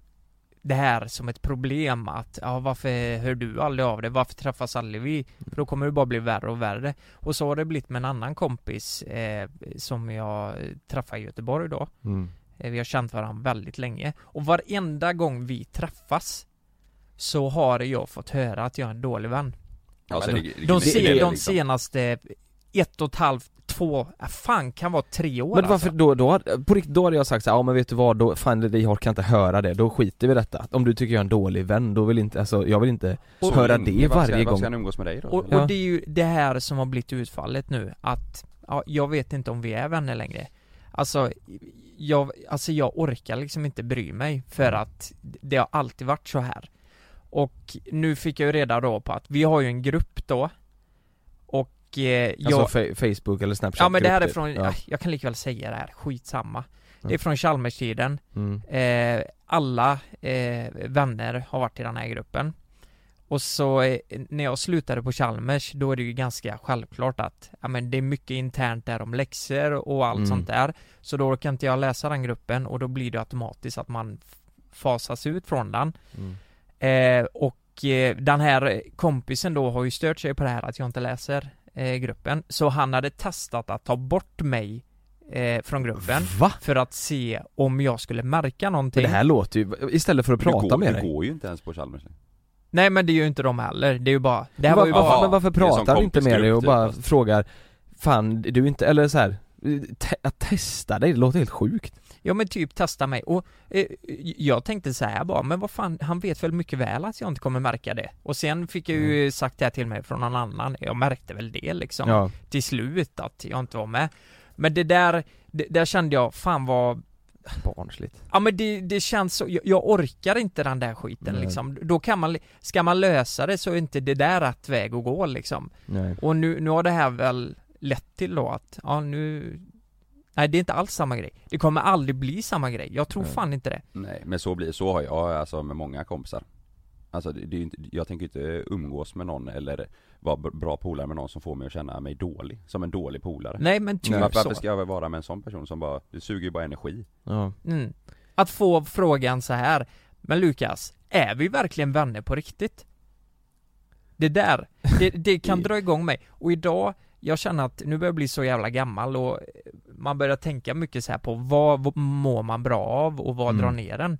S4: det här som ett problem att ja, varför hör du aldrig av dig? Varför träffas aldrig vi? För då kommer det bara bli värre och värre. Och så har det blivit med en annan kompis eh, som jag träffade i Göteborg då.
S2: Mm.
S4: Eh, Vi har känt varandra väldigt länge och varenda gång vi träffas så har jag fått höra att jag är en dålig vän.
S3: ja så
S2: de-
S3: det, det,
S4: De,
S3: det-
S4: se,
S3: det-
S4: de
S3: liksom.
S4: senaste ett och ett halvt, två, ja, fan kan vara tre år
S2: Men varför
S4: alltså.
S2: då, då, hade- på riktigt, då hade jag sagt så här, ja men vet du vad, då, fan vi orkar inte höra det, då skiter vi i detta. Om du tycker jag är en dålig vän, då vill inte, alltså jag vill inte
S3: Så
S2: höra
S3: länge.
S2: det
S3: Varför ska-
S2: varje
S3: Varför
S2: gång.
S3: ska han umgås med dig då?
S4: Och,
S2: Ja.
S4: och det är ju det här som har blivit utfallet nu att ja, jag vet inte om vi är vänner längre. Alltså jag, alltså jag orkar liksom inte bry mig för
S2: Mm.
S4: att det har alltid varit så här. Och nu fick jag ju reda då på att vi har ju en grupp då och och eh, jag...
S2: Alltså fe- Facebook eller Snapchat
S4: ja men det här är
S2: grupp,
S4: från,
S2: typ. ja.
S4: ah, jag kan lika väl säga det här, skitsamma. Det
S2: Ja.
S4: är från Chalmers-tiden,
S2: Mm.
S4: eh, alla eh, vänner har varit i den här gruppen. Och så eh, när jag slutade på Chalmers, då är det ju ganska självklart att ja, men det är mycket internt där om läxor och allt
S2: Mm.
S4: sånt där. Så då kan inte jag läsa den gruppen och då blir det automatiskt att man f- fasas ut från den.
S2: Mm.
S4: Eh, och eh, den här kompisen då har ju stört sig på det här att jag inte läser eh, gruppen. Så han hade testat att ta bort mig eh, från gruppen.
S2: Va?
S4: För att se om jag skulle märka
S2: För
S4: någonting.
S2: det här låter ju, istället för att
S3: du
S2: prata
S3: går,
S2: med
S3: Du
S2: dig
S3: går ju inte ens på Chalmers.
S4: Nej men det är ju inte de heller, det är ju bara, det här
S2: Men
S4: var ju
S2: varför-
S4: bara,
S2: Men varför
S3: Det är en sån
S2: pratar du inte med dig
S3: kompisgrupp
S2: och
S3: typ,
S2: bara
S3: fast.
S2: frågar Fan, är du inte, eller så här. Te- att testa dig, det låter helt sjukt
S4: ja men typ testa mig och eh, jag tänkte så här bara, men vad fan, han vet väl mycket väl att jag inte kommer märka det. Och sen fick jag ju sagt det här till mig från någon annan, jag märkte väl det liksom.
S2: Mm. Ja,
S4: till slut att jag inte var med. Men det där, det, där kände jag, fan vad,
S2: barnsligt
S4: ja men det, det känns så, jag, jag orkar inte den där skiten
S2: Nej.
S4: liksom. Då kan man, ska man lösa det så är inte det där rätt väg att gå liksom.
S2: Nej.
S4: Och nu, nu har det här väl lett till då att, ja nu Nej det är inte alls samma grej. Det kommer aldrig bli samma grej. Jag tror
S2: Nej.
S4: fan inte det.
S3: Nej, men så blir, så har jag alltså med många kompisar. Alltså det, det är ju inte, jag tänker inte umgås med någon eller vara b- bra polare med någon som får mig att känna mig dålig, som en dålig polare.
S4: Nej men typ
S3: Nej, varför,
S4: så.
S3: varför ska jag vara med en sån person som bara, det suger ju bara energi.
S2: Ja,
S4: Mm. Att få frågan så här. Men Lukas, är vi verkligen vänner på riktigt? Det där, det, det kan dra igång mig. Och idag, jag känner att nu börjar jag bli så jävla gammal och man börjar tänka mycket så här på vad vad mår man bra av och vad
S2: Mm.
S4: drar ner den?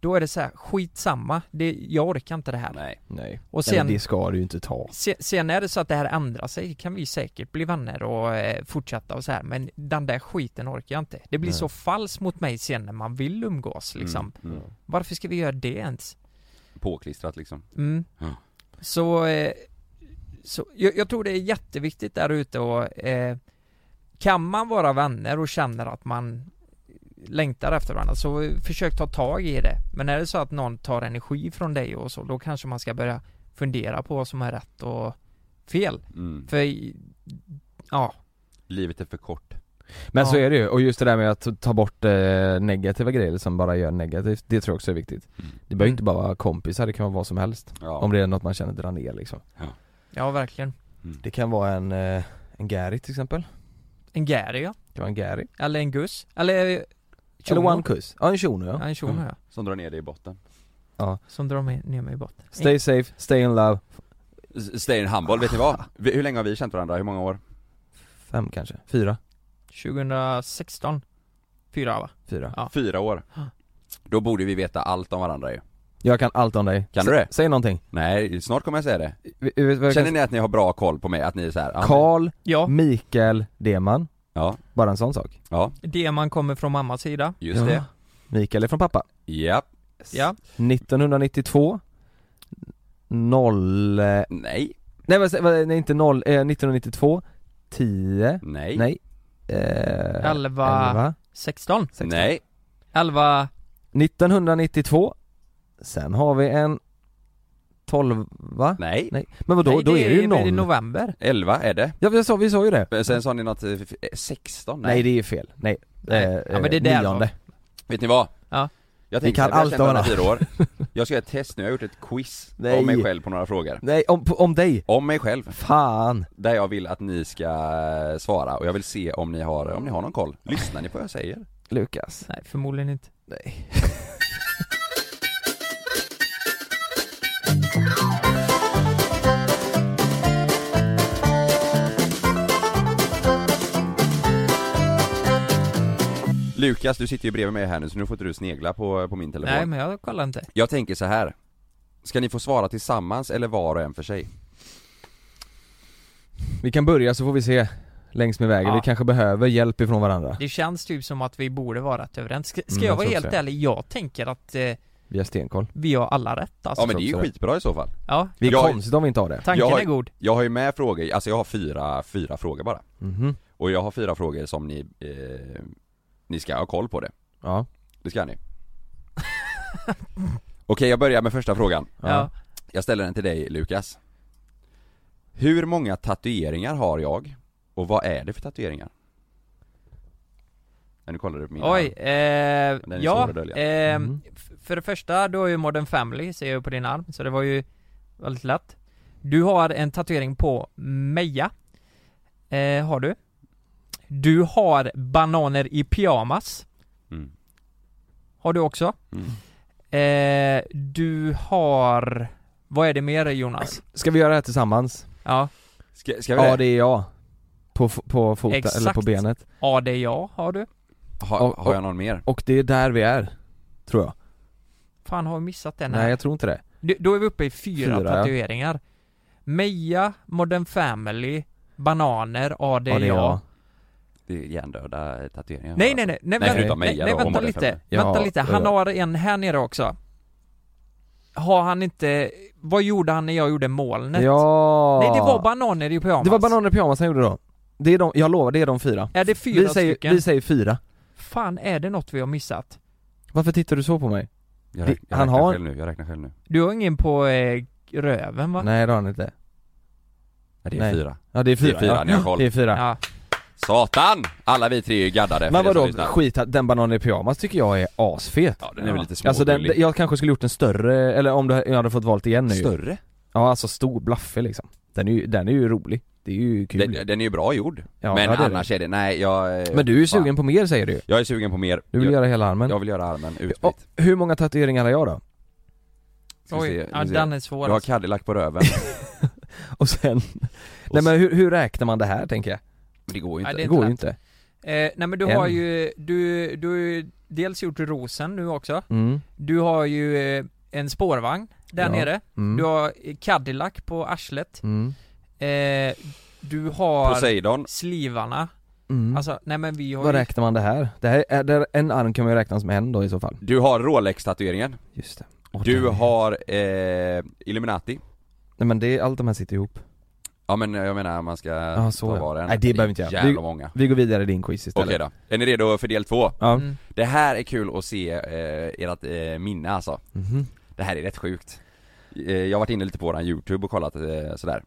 S4: Då är det så här, skitsamma, det, jag orkar inte det här.
S3: Nej.
S2: nej
S4: Och
S2: Eller
S4: sen,
S2: det ska du ju inte ta
S4: se, sen är det så att det här ändrar sig, kan vi säkert bli vänner och eh, fortsätta och så här. men den där skiten orkar jag inte. Det blir
S2: Nej.
S4: så falskt mot mig sen när man vill umgås liksom.
S3: Mm, mm.
S4: Varför ska vi göra det ens?
S3: Påklistrat liksom.
S4: Mm.
S3: Ja.
S4: Så, eh, så jag, jag tror det är jätteviktigt där ute och eh, kan man vara vänner och känner att man längtar efter varandra så eh, försök ta tag i det. Men är det så att någon tar energi från dig och så, då kanske man ska börja fundera på vad som är rätt och fel.
S3: Mm.
S4: För, i- ja,
S3: Livet är för kort.
S2: Men så
S4: Ja.
S2: är det ju, och just det där med att ta bort eh, negativa grejer som bara gör negativt, det tror jag också är viktigt Det behöver
S4: Mm.
S2: inte bara vara kompisar, det kan vara vad som helst
S3: Ja.
S2: Om det är något man känner drar ner liksom
S4: ja verkligen.
S2: Det kan vara en, eh, en Gary till exempel,
S4: En Gary ja,
S2: det kan vara en Gary
S4: eller en Gus, eller
S2: Eller
S4: Tjono.
S2: one kuss, ja en Shuno ja Mm.
S4: Ja, en Tjono ja,
S3: Som drar ner dig i botten.
S4: som drar mig, ner mig i botten.
S2: Stay safe, stay in love,
S3: S- Stay in handboll, vet ni vad? Vi, hur länge har vi känt varandra? Hur många år?
S2: fem kanske, fyra,
S4: 2016 Fyra va?
S2: fyra
S4: Ja.
S3: Fyra år.
S4: Ja.
S3: Då borde vi veta allt om varandra ju.
S2: Jag kan allt om dig
S3: Kan du
S2: Sä-
S3: det?
S2: Säg någonting
S3: Nej, snart kommer jag säga det.
S2: Vi- vi vet vad jag
S3: Känner
S2: kan-
S3: ni att ni har bra koll på mig? Att ni är såhär,
S2: Karl,
S4: Ja,
S2: Mikael, Deman,
S3: Ja,
S2: bara en sån sak
S3: ja,
S4: det man kommer från mammas sida
S3: just
S2: Ja.
S3: det.
S2: Mikael är från pappa
S3: Ja.
S4: Ja,
S2: 1992 Noll... eh,
S3: Nej,
S2: Nej men sä- vad- nej, inte noll, eh, 1992 10
S3: nej,
S2: Nej eh,
S4: Elva.
S2: 11
S4: 16
S2: 16.
S3: nej.
S4: 11
S2: 1992 Sen har vi en 12 va?
S3: Nej,
S2: Nej. Men vadå,
S4: Nej,
S2: då är det ju
S4: i
S2: noll
S4: november
S3: 11 är det.
S2: Ja vi sa, vi sa ju det
S3: Men Sen sa ni något, eh, f- eh, 16?
S2: Nej,
S3: Nej.
S2: det är ju fel, nej,
S4: Nej.
S2: Eh,
S4: Ja, men det
S2: eh,
S4: där var-
S2: nionde
S3: Vet ni vad?
S4: Ja.
S3: Jag
S2: Vi
S3: tänker
S2: kan
S3: så här,
S2: allt
S3: vi har
S2: om
S3: känt varandra i fyra år. Jag ska göra ett test nu, jag har gjort ett quiz
S2: Nej.
S3: om mig själv på några frågor.
S2: Nej, om, på- om dig!
S3: Om mig själv,
S2: Fan!
S3: där jag vill att ni ska eh, svara och jag vill se om ni har, om ni har någon koll. Lyssnar ni på vad jag säger?
S2: Lukas
S4: Nej förmodligen inte
S2: Nej
S3: Lukas, du sitter ju bredvid mig här nu så nu får inte du snegla på, på min telefon.
S4: Nej men jag kollar inte
S3: Jag tänker så här. Ska ni få svara tillsammans eller var och en för sig?
S2: Vi kan börja så får vi se längs med vägen,
S4: Ja.
S2: vi kanske behöver hjälp ifrån varandra
S4: Det känns typ som att vi borde vara rätt överens Ska, ska
S2: Mm, jag
S4: jag vara
S2: tror
S4: helt
S2: också det.
S4: ärlig? Jag tänker att eh,
S2: Vi har stenkoll
S4: vi har alla rätt alltså
S3: Ja men det är ju
S2: också det.
S3: skitbra i så fall.
S4: Ja,
S2: Vi är
S3: Jag-
S2: konstigt om vi inte har det
S4: tanken
S3: Jag-
S4: är god
S3: Jag har ju med frågor, alltså jag har fyra, fyra frågor bara.
S2: Mhm.
S3: Och jag har fyra frågor som ni, eh, ni ska ha koll på det.
S2: Ja,
S3: Det ska ni. Okej jag börjar med första frågan.
S4: Ja,
S3: Jag ställer den till dig Lukas. Hur många tatueringar har jag? Och vad är det för tatueringar? Nej, nu kollar du på mina
S4: Oj, eh,
S3: Den är svår
S4: ja,
S3: att dölja.
S4: eh,
S2: Mm.
S4: f- för det första, du har ju Modern Family, ser jag på din arm, så det var ju väldigt lätt Du har en tatuering på Meja, eh, har du Du har bananer i pyjamas,
S3: Mm.
S4: har du också
S3: Mm.
S4: eh, Du har, vad är det mer Jonas?
S2: Ska vi göra det här tillsammans?
S4: Ja,
S3: Ska, ska vi
S2: Ja det är jag På, f- på foten,
S4: Exakt.
S2: eller på benet
S4: ja det är jag, har du
S3: ha,
S2: och-
S3: har jag någon mer?
S2: Och det är där vi är Tror jag
S4: Fan har jag missat den här?
S2: Nej jag tror inte det
S4: Du- Då är vi uppe i fyra,
S2: Fyra, ja.
S4: tatueringar Meja, Modern Family, Bananer, ADA
S2: Ja, det är jag.
S3: Det är hjärndöda eh, tatueringar
S4: Nej nej nej, nej,
S3: Nej,
S4: vänta,
S3: förutom
S4: nej,
S3: Meja
S4: nej
S3: då,
S4: vänta
S3: Modern
S4: lite,
S3: Family.
S4: vänta
S2: Ja,
S4: lite,
S2: ja,
S4: han
S2: ja.
S4: har en här nere också Har han inte, vad gjorde han när jag gjorde molnet?
S2: Ja
S4: Nej det var bananer i pyjamas
S2: Det var bananer i pyjamas han gjorde då Det är de, jag lovar det är de fyra
S4: Är det fyra
S2: vi, säger,
S4: stycken?
S2: vi säger fyra
S4: Fan är det något vi har missat?
S2: Varför tittar du så på mig?
S3: Jag,
S2: Det-
S3: räk, jag
S2: han
S3: räknar
S2: har-
S3: själv nu, jag räknar själv nu
S4: Du har ingen på eh, röven va?
S2: Nej det har han inte
S3: Nej, det är
S2: Nej.
S3: fyra
S2: Ja det är fyra,
S3: Det är fyra,
S2: ja.
S3: ni har koll.
S2: Det är fyra
S4: Ja.
S3: Satan! Alla vi tre är ju gaddade för
S2: Men
S3: det som
S2: vadå,
S3: lyssnar.
S2: skit att den bananen i pyjamas tycker jag är asfet
S3: Ja den är väl lite små
S2: Alltså den, jag kanske skulle gjort en större, eller om du, jag hade fått valt igen nu
S3: Större?
S2: Ja alltså stor, blaffig liksom Den är ju, den är ju rolig, det är ju kul
S3: Den, den är ju bra gjord
S2: Ja,
S3: Men
S2: ja, det är
S3: annars är det, nej jag... eh,
S2: Men du är ju
S3: fan.
S2: sugen på mer säger du ju.
S3: Jag är sugen på mer
S2: Du vill
S3: jag,
S2: göra hela armen
S3: jag vill göra armen utspritt
S2: Ja, Hur många tatueringar har jag då?
S3: Ska vi se,
S4: Oj,
S3: ska
S4: ja,
S3: vi se.
S4: den är svår
S3: Jag har
S4: alltså.
S3: Cadillac på röven
S2: Och sen, nej men hur, hur räknar man det här tänker jag?
S3: Men Det går ju
S4: Ja,
S3: inte
S4: det
S2: Det
S4: är
S2: går ju
S4: lätt.
S2: inte
S4: eh, Nej men du
S2: En.
S4: har ju, du, du har ju dels gjort rosen nu också
S2: mm.
S4: Du har ju eh, en spårvagn där
S2: Ja.
S4: nere
S2: Mm.
S4: Du har eh, Cadillac på arslet
S2: Mm.
S4: eh, Du har
S3: Poseidon
S4: slivarna
S2: Mm.
S4: Alltså nej men vi har
S2: Vad
S4: ju
S2: räknar man det här? Det här är, där, en arm kan man ju räkna som en då i så fall
S3: Du har Rolex-tatueringen
S2: Just det Åh,
S3: Du
S2: den-
S3: har eh, Illuminati
S2: Nej men det, allt de här sitter ihop
S3: Ja men jag menar man ska
S2: Ja, så
S3: ta
S2: ja.
S3: var en
S2: Nej, det behöver vi inte göra.
S3: Jävla
S2: Det-
S3: många
S2: Vi går vidare i din quiz istället
S3: Okej då, är ni redo för del två?
S2: Ja
S4: Mm.
S3: Det här är kul att se eh, ert eh, minne alltså
S2: Mhm.
S3: Det här är rätt sjukt eh, Jag har varit inne lite på våran youtube och kollat eh, sådär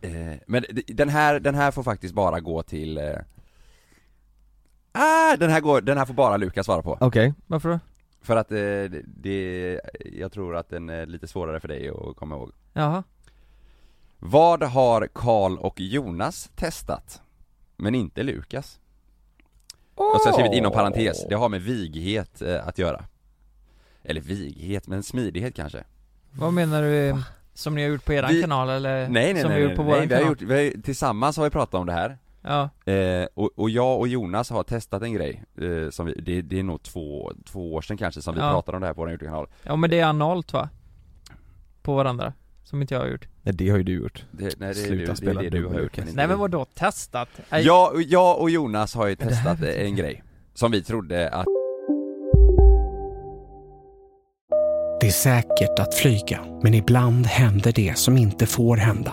S3: eh, Men d- den här, den här får faktiskt bara gå till eh... ah, den, här går, den här får bara Lukas svara på
S2: Okej,
S4: Varför då?
S3: För att eh, det- det, jag tror att den är lite svårare för dig att komma ihåg
S4: Jaha
S3: Vad har Karl och Jonas testat? Men inte Lukas Och sen skrivit inom parentes, det har med vighet eh, att göra Eller vighet, men smidighet kanske?
S4: Vad menar du eh, som ni har gjort på eran
S3: Vi-
S4: kanal eller?
S3: Nej nej
S4: som
S3: nej,
S4: vi
S3: nej,
S4: har gjort på
S3: nej
S4: våran
S3: vi har
S4: kanal?
S3: gjort, vi har, tillsammans har vi pratat om det här
S4: Ja,
S3: eh, och, och jag och Jonas har testat en grej, eh, som vi, det, det är nog två, två år sedan kanske som vi
S4: Ja.
S3: pratade om det här på vår Youtube-kanal
S4: ja men det är analt va? På varandra, som inte jag har gjort
S2: nej det har ju du gjort
S3: det, nej, det, är
S2: Sluta
S3: du- det,
S2: spela
S3: det, är det du
S2: dubbel,
S3: har gjort
S2: Lukas.
S3: inte
S4: Nej men
S3: vi.
S4: vadå testat? Nej,
S3: jag, och- jag och Jonas har ju
S2: Men det här
S3: testat
S2: vet jag
S3: en
S2: inte.
S3: grej Som vi trodde att
S5: Det är säkert att flyga, men ibland händer det som inte får hända.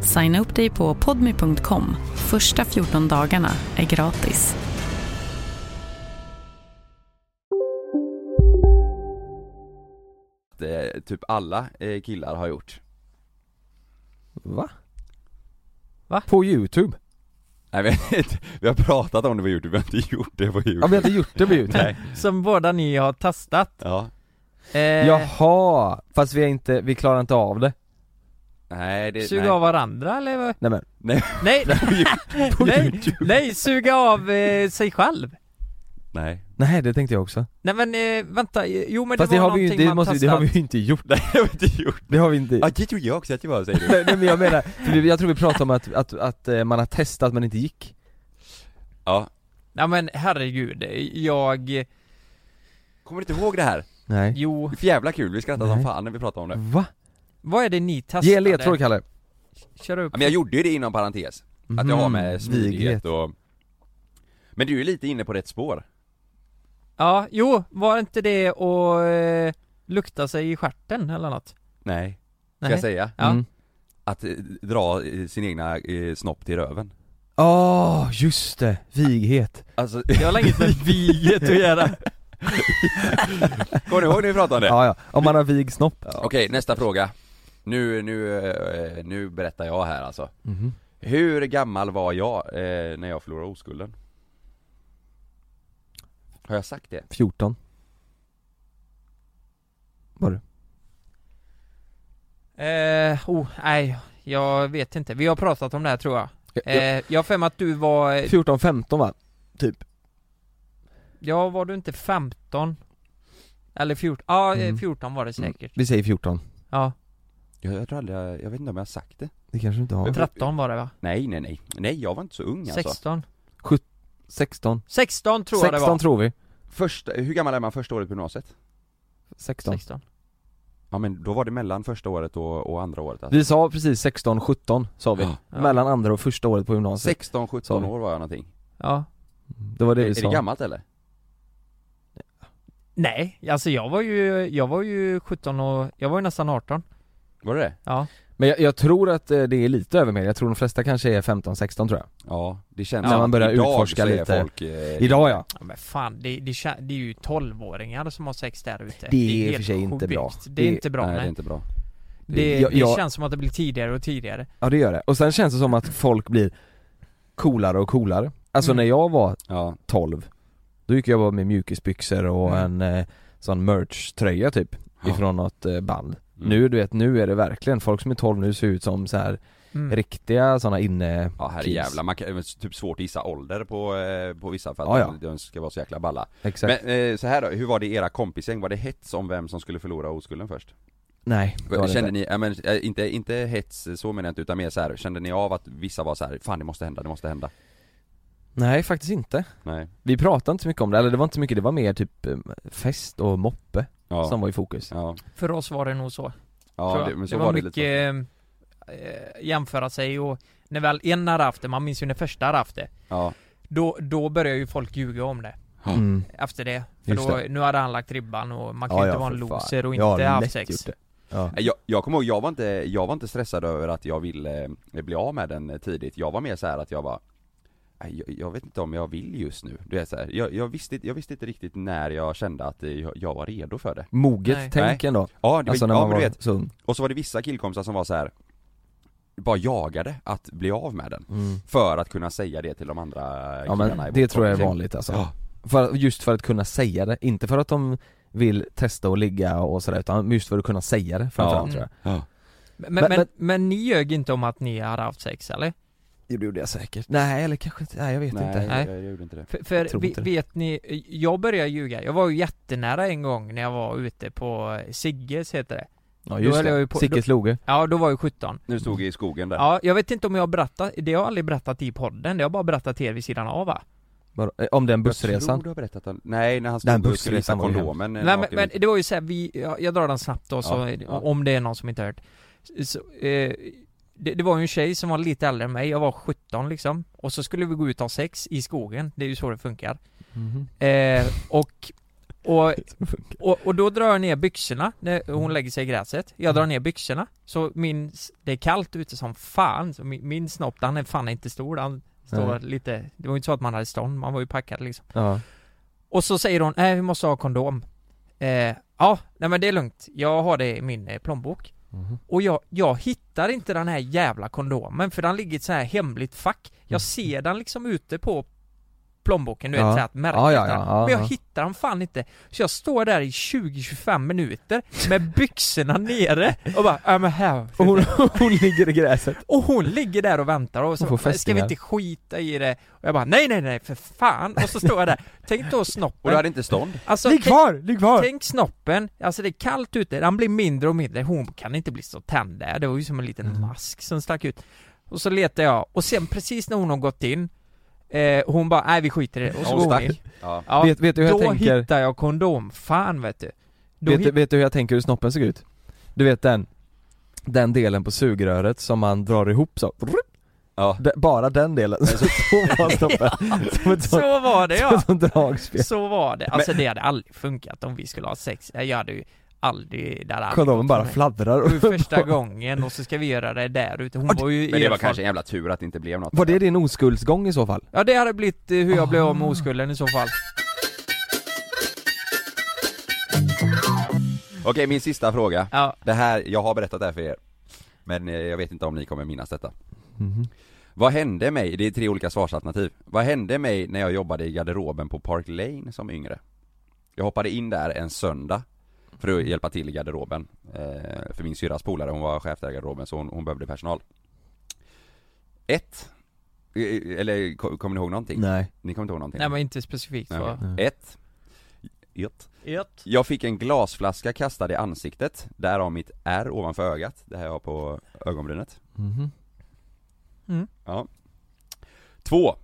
S6: Signa upp dig på podmi.com. Första 14 dagarna är gratis.
S3: att eh, typ alla eh, killar har gjort.
S2: Va? Va? På youtube?
S3: Nej vi, vi har pratat om det på youtube, vi har inte gjort det på youtube.
S2: Ja, vi har inte gjort det på YouTube.
S3: Nej.
S4: Som båda ni har testat.
S3: Ja.
S4: Eh,
S2: Jaha! Fast vi är inte, vi klarar inte av det
S3: Nej det,
S4: Suga
S3: nej.
S4: av varandra eller? vad?
S2: Nej men
S3: Nej.
S4: Nej!
S3: På
S4: nej,
S3: YouTube.
S4: nej, suga av eh, sig själv.
S3: Nej.
S2: Nej det tänkte jag också
S4: Nej men eh, vänta, eh, jo men
S2: Fast
S4: det
S2: det
S4: var
S2: har vi ju
S4: någonting
S2: det
S4: man
S2: måste, vi- det har vi ju inte gjort
S3: Nej det har vi inte gjort
S2: Det har vi inte
S3: Ja det tror jag också att det var säger du.
S2: Nej nej, men jag menar, för vi- jag tror vi pratade om att, att, att eh, man har testat men inte gick
S3: Ja.
S4: Nej men herregud, jag...
S3: Kommer du inte ihåg det här?
S2: Nej
S4: Jo,
S3: För jävla kul, vi skrattade som
S2: Nej.
S3: fan när vi pratade om det.
S2: Va?
S4: vad är det ni testade?
S2: Ge en ledtråd Kalle
S4: Kör upp.
S3: Ja, men jag gjorde ju det inom parentes. Att jag har
S4: Mm,
S3: med smidighet
S2: Mhm. vighet.
S3: och... Men du är ju lite inne på rätt spår.
S4: Ja, jo, var inte det och eh, lukta sig i stjärten eller något?
S3: Nej. Ska
S4: Nej.
S3: jag säga?
S4: Ja.
S2: Mm.
S3: Att eh, dra eh, sin egna eh, snopp till röven.
S2: Åh, just det! Vighet
S3: Alltså,
S4: Det har länge med viget att göra.
S3: kommer ni ihåg när vi pratade om det?
S2: Ja, ja, om man har vig snopp
S3: Okej, nästa fråga. Nu, nu, eh, nu berättar jag här alltså.
S2: Mhm.
S3: Hur gammal var jag eh, när jag förlorade oskulden? Har jag sagt det?
S2: 14 Var du?
S4: Eh, oh, nej, jag vet inte. Vi har pratat om det här tror jag.
S2: Ja, ja.
S4: Eh, jag har för mig att du
S3: Eh,
S4: var,
S2: 14, 15 va? Typ
S4: ja var du inte 15? Eller 14? Ja, eh,
S2: Mm.
S4: 14 var det säkert.
S2: Vi säger 14
S4: Ja,
S3: Jag, jag tror aldrig, jag, jag vet inte om jag har sagt det.
S2: Det kanske du inte har?
S4: 13 var det va?
S3: Nej, nej, nej. Nej, jag var inte så ung alltså.
S4: 16?
S2: 16
S4: 16 tror jag det
S2: 16
S4: var.
S2: tror vi
S3: Första, hur gammal är man första året på gymnasiet?
S2: 16
S4: 16.
S3: Ja men då var det mellan första året och, och andra året alltså.
S2: Vi sa precis 16, 17 sa vi
S3: Ja.
S4: Ja.
S2: Mellan andra och första året på gymnasiet
S3: 16, 17 år var jag någonting.
S4: Ja.
S2: Det var det vi
S3: är
S2: sa
S3: det gammalt eller?
S4: Nej, alltså jag var ju, jag var ju 17 och, jag var ju nästan 18.
S3: Var det det?
S4: Ja.
S2: Men jag, jag tror att eh, det är lite över med. Jag tror de flesta kanske är 15-16 tror jag
S3: Ja, det känns
S2: När
S3: som
S2: man
S3: att
S2: börjar
S3: idag
S2: utforska
S3: så är
S2: lite.
S3: folk, eh,
S2: Idag ja,
S4: Ja, men fan, det, det, kä- det är ju 12-åringar som har sex där ute.
S2: Det är i och för
S4: helt
S2: sig inte
S4: sjukt.
S2: bra.
S4: Det är
S2: Det-
S4: inte bra,
S3: Nej det är
S4: nej.
S3: inte bra.
S4: Det,
S2: Jag-
S4: det
S2: jag-
S4: känns som att det blir tidigare och tidigare.
S2: ja det gör det. Och sen känns det som att folk blir coolare och coolare Alltså
S4: Mm.
S2: när jag var
S3: Ja,
S2: 12 Då gick jag bara med mjukisbyxor och
S4: Mm.
S2: en eh, sån merch-tröja typ
S3: Ja.
S2: Ifrån något eh, band
S3: Mm.
S2: Nu du vet, nu är det verkligen, folk som är 12 nu ser ut som så här
S4: Mm.
S2: riktiga såna inne
S3: ja herre
S2: kids.
S3: jävlar. Man kan, det är typ svårt att gissa ålder på, eh, på vissa för att
S2: Ja, ja.
S3: de- de ska vara så jäkla balla.
S2: Exakt
S3: Men eh, så här då, hur var det i era kompisgäng? Var det hets om vem som skulle förlora oskulden först?
S2: Nej, det var det
S3: kände
S2: inte.
S3: ni, ja, men, eh, inte, inte hets eh, så menar jag inte utan mer så här. kände ni av att vissa var så här, fan det måste hända, det måste hända?
S2: Nej faktiskt inte
S3: Nej.
S2: Vi pratade inte så mycket om det, eller det var inte så mycket, det var mer typ eh, fest och moppe
S3: Ja.
S2: som var i fokus
S3: Ja,
S4: För oss var det nog så.
S3: ja
S4: tror jag.
S3: det, men så
S4: det var,
S3: var det
S4: mycket
S3: lite så.
S4: eh, jämföra sig och när väl en har haft det, man minns ju när första har haft det.
S3: Ja,
S4: Då, då börjar ju folk ljuga om det.
S2: mm.
S4: Efter det. För
S2: Just
S4: då,
S2: det.
S4: nu hade han lagt ribban och man kan
S2: Ja,
S4: ju inte
S2: ja,
S4: vara en
S2: för fan.
S4: loser och
S2: Jag har
S4: inte haft
S2: lätt
S4: sex.
S2: gjort det. Ja.
S3: Eh, jag, jag kommer ihåg, jag var, inte, jag var inte stressad över att jag ville eh, bli av med den eh, tidigt, jag var mer så här att jag bara "Nej, jag, jag vet inte om jag vill just nu, du vet så här, jag, jag, visste, inte- jag visste inte riktigt när jag kände att eh, jag, jag var redo för det
S2: Moget
S4: Nej.
S2: tänk ändå,
S3: Ja, det var,
S2: alltså när
S3: ja
S2: man
S3: men
S2: var
S3: du vet,
S2: så ung
S3: och så var det vissa killkompisar som var så här bara jagade att bli av med den,
S2: Mm.
S3: för att kunna säga det till de andra
S2: Ja
S3: killarna i
S2: men
S3: vårt
S2: det tror jag är
S3: kompisgäng.
S2: vanligt alltså
S3: Ja.
S2: för, Just för att kunna säga det, inte för att de vill testa och ligga och sådär utan just för att kunna säga det framförallt
S3: Ja.
S2: tror jag
S3: Ja.
S4: Men,
S2: Men-
S4: men, men, men ni ljög inte om att ni hade haft sex eller?
S2: Det gjorde jag säkert Nej eller kanske inte, Mm. nej jag vet
S3: Nej,
S2: inte
S3: jag, jag gjorde inte det
S4: För,
S2: Jag
S4: för
S2: tror
S4: vi-
S2: inte det.
S4: vet ni, jag började ljuga. Jag var ju jättenära en gång när jag var ute på Sigges heter det.
S2: Ja
S4: Då
S2: just
S4: höll jag
S2: det,
S4: ju på-
S2: Sickes Loge
S4: Ja, då var jag ju 17.
S3: Nu stod jag i skogen där
S4: Ja, jag vet inte om jag har berättat, det har jag aldrig berättat i podden. Det har jag bara berättat till er vid sidan av va?
S2: Bara- eh, Om den
S3: Jag tror
S2: bussresan
S3: du har berättat om, nej när han
S2: Den
S3: stod och skulle hitta
S2: bussresan var ju
S3: kondomen eh,
S4: Nej men,
S3: rakt i-
S4: men det var ju såhär, vi, jag, jag drar den snabbt då så,
S3: Ja, ja.
S4: om det är någon som inte har hört. Så, eh, det, det var ju en tjej som var lite äldre än mig, jag var 17 liksom. Och så skulle vi gå ut och ha sex i skogen, det är ju så det funkar.
S2: Mhm.
S4: Eh, och, och, och, och då drar jag ner byxorna när hon lägger sig i gräset. Jag drar ner byxorna, så min, s- det är kallt ute som fan. Så min, min snopp, den är fan inte stor, den står
S2: Nej.
S4: lite, det var ju inte så att man hade stånd, man var ju packad liksom.
S2: Ja,
S4: Och så säger hon, nej vi måste ha kondom eh, Ja, nej men det är lugnt. Jag har det i min eh, plånbok.
S2: Mhm.
S4: Och jag, jag hittar inte den här jävla kondomen för den ligger i ett så här hemligt fack. Jag ser den liksom ute på plånboken, du vet
S2: Mm. Ja.
S4: så här att märket
S2: Ja, ja, ja,
S4: där.
S2: ja,
S4: Men jag
S2: ja.
S4: hittar den fan inte. Så jag står där i 20-25 minuter med byxorna nere och bara ja men här.
S2: Och hon, hon ligger i gräset
S4: Och hon ligger där och väntar och
S2: Hon får
S4: så ska vi
S2: fästingar."
S4: inte skita i det? Och jag bara nej nej nej för fan! Och så står jag där, tänk då snoppen
S3: Och du hade inte stånd?
S4: Alltså,
S2: Ligg
S4: tänk-
S2: kvar, ligg kvar!
S4: Tänk snoppen, alltså det är kallt ute, den blir mindre och mindre, hon kan inte bli så tänd där, det var ju som en
S2: Mm.
S4: liten mask som stack ut Och så letar jag, och sen precis när hon har gått in eh, Hon bara, nej vi skiter i det, och så
S2: Hon
S4: går hon
S2: stack.
S4: in
S2: Ja. Vet- vet du hur jag
S4: då
S2: tänker?
S4: hittar jag kondom, fan vet du Då
S2: vet, du,
S4: hit-
S2: vet du hur jag tänker hur snoppen såg ut? Du vet den, den delen på sugröret som man drar ihop så De- Bara den delen, så, så var snoppen som ett
S4: Så var det, ja.
S2: som ett sånt dragspel
S4: Så var det, alltså det hade aldrig funkat om vi skulle ha sex, jag hade ju aldrig, det hade aldrig
S2: Kondomen
S4: gått
S2: bara
S4: för mig.
S2: fladdrar
S4: Det var ju första
S2: och-
S4: gången och så ska vi göra det där ute, hon var ju
S3: Men det var
S4: erfaren-
S3: kanske en jävla tur att det inte blev något
S2: Var det din oskuldsgång i så fall?
S4: Ja det hade blivit eh, hur jag blev
S2: Ah.
S4: av med oskulden i så fall
S3: Okej, min sista fråga.
S4: Ja.
S3: Det här, jag har berättat det här för er. Men eh, jag vet inte om ni kommer minnas detta. Mhm. Vad hände mig, det är tre olika svarsalternativ. Vad hände mig när jag jobbade i garderoben på Park Lane som yngre? Jag hoppade in där en söndag för att hjälpa till i garderoben. Eh, för min syrras polare, hon var chef där i garderoben så hon, hon behövde personal. Ett. Eh, Eller ko- kommer ni ihåg någonting?
S2: Nej.
S3: Ni kommer inte ihåg någonting?
S4: Nej men inte specifikt
S3: Nej,
S4: så
S3: okej. Ett. Ett. Jag fick en glasflaska kastad i ansiktet, därav mitt R ovanför ögat, det här jag har på ögonbrynet.
S2: Mhm.
S4: Mm.
S3: Ja. Två.